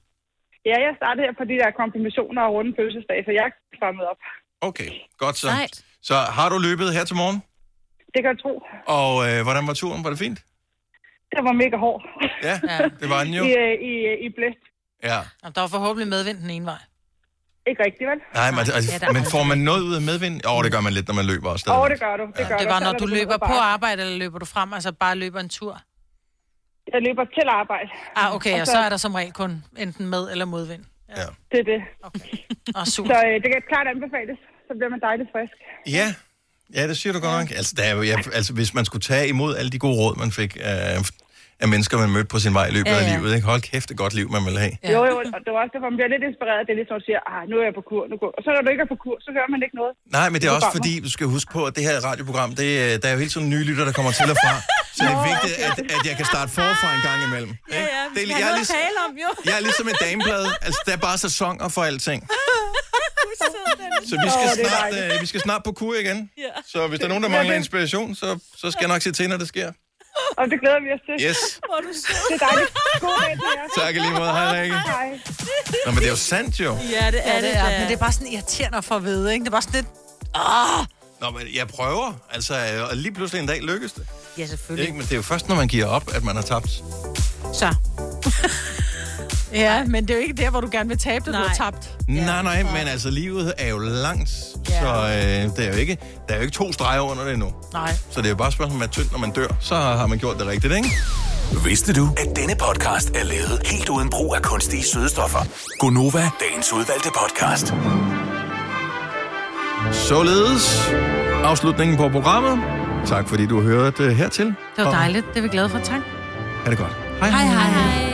Speaker 6: Ja, jeg startede her på de der konfirmationer og runde fødselsdag, så jeg er strammet op.
Speaker 1: Okay, godt så.
Speaker 6: Sejt.
Speaker 1: Så har du løbet her til morgen,
Speaker 6: Det kan jeg tro.
Speaker 1: og øh, hvordan var turen? Var det fint?
Speaker 6: Det var mega hård.
Speaker 1: Ja, det var den jo.
Speaker 6: I, øh, i, øh, i blæst.
Speaker 1: Ja.
Speaker 2: Jamen, Der var forhåbentlig medvind den ene vej.
Speaker 6: Ikke rigtigt, vel?
Speaker 1: Nej, men,
Speaker 2: Ja,
Speaker 1: altså,
Speaker 2: der er
Speaker 1: men får
Speaker 2: aldrig-
Speaker 1: man noget ud af medvind? Åh, oh, det gør man lidt, når man løber også.
Speaker 6: Åh,
Speaker 1: stadigvæk.
Speaker 6: det gør du. Det, gør
Speaker 2: Det
Speaker 6: du.
Speaker 2: var,
Speaker 6: Så
Speaker 2: når
Speaker 6: er ligesom
Speaker 2: du
Speaker 6: det
Speaker 2: løber på
Speaker 6: bare-
Speaker 2: arbejde, eller løber du frem, altså bare løber en tur?
Speaker 6: Jeg løber til arbejde.
Speaker 2: Ah, okay,
Speaker 6: Og
Speaker 2: og
Speaker 6: så-
Speaker 2: så er der som regel kun enten med eller modvind.
Speaker 6: Det er det.
Speaker 2: Og sult.
Speaker 6: Så øh, det kan klart anbefales. Så bliver man dejligt frisk.
Speaker 1: Ja, ja det siger du godt nok. Altså, der er, jo- jeg, altså, hvis man skulle tage imod alle de gode råd, man fik af, af mennesker, man mødte på sin vej i løbet
Speaker 6: Ja,
Speaker 1: ja,
Speaker 6: ja.
Speaker 1: af livet, ikke? hold kæft, det godt liv, man vil have.
Speaker 6: Ja. Jo, jo, og det var også derfor, man bliver lidt inspireret. Det er lidt sådan, at du siger, ah, nu er jeg på kur, nu går Og så når du ikke er på kur, så hører man ikke noget.
Speaker 1: Nej, men det er også
Speaker 6: programmer.
Speaker 1: fordi, du skal huske på, at det her radioprogram, det, øh, der er jo hele tiden nye lytter, der kommer til og fra. Så det er vigtigt, at, at jeg kan starte forfra en gang imellem. Ja, ja. Det er, jeg, er ligesom,
Speaker 3: tale om, jo.
Speaker 1: jeg er ligesom et dameblad. Altså, der er bare sæsoner for alting. Så vi
Speaker 3: Åh, det
Speaker 1: skal,
Speaker 3: er
Speaker 1: snart,
Speaker 3: dejligt.
Speaker 1: øh, vi skal snart på kur igen. Så hvis der er nogen, der mangler inspiration, så, så skal jeg nok se til, når det sker.
Speaker 6: Og det glæder vi os til.
Speaker 1: Yes.
Speaker 6: Hvor du det er dejligt. God dag til jer.
Speaker 1: Tak i lige måde. Hej, Rikke.
Speaker 6: Hej.
Speaker 1: Nå, men det er jo sandt jo.
Speaker 2: Ja, det er det,
Speaker 3: det da.
Speaker 2: Men det er bare sådan irriterende at få at vide, ikke? Det er bare sådan lidt... Ah!
Speaker 1: Nå, men jeg prøver. Altså, øh, og lige pludselig en dag lykkes det.
Speaker 3: Ja,
Speaker 1: Ikke?
Speaker 3: selvfølgelig.
Speaker 1: Men det er jo først, når man giver op, at man har tabt.
Speaker 3: Så.
Speaker 2: Ja, men det er jo ikke der, hvor du gerne vil tabe det, du har tabt.
Speaker 1: Nej, nej, men altså, livet er jo langt, så øh, det er jo ikke, der er jo ikke to streger under det endnu.
Speaker 2: Nej.
Speaker 1: Så det er jo bare et spørgsmål, om man er tynd, når man dør. Så har man gjort det rigtigt, ikke?
Speaker 5: Vidste du, at denne podcast er lavet helt uden brug af kunstige sødestoffer?
Speaker 1: Gunova,
Speaker 5: Dagens udvalgte podcast.
Speaker 1: Således afslutningen på programmet. Tak fordi du hørte øh, hertil.
Speaker 2: Det var
Speaker 1: Og
Speaker 2: dejligt. Det er vi glade for. Tak.
Speaker 1: Ha' det godt.
Speaker 2: Hej, hej, hej. hej.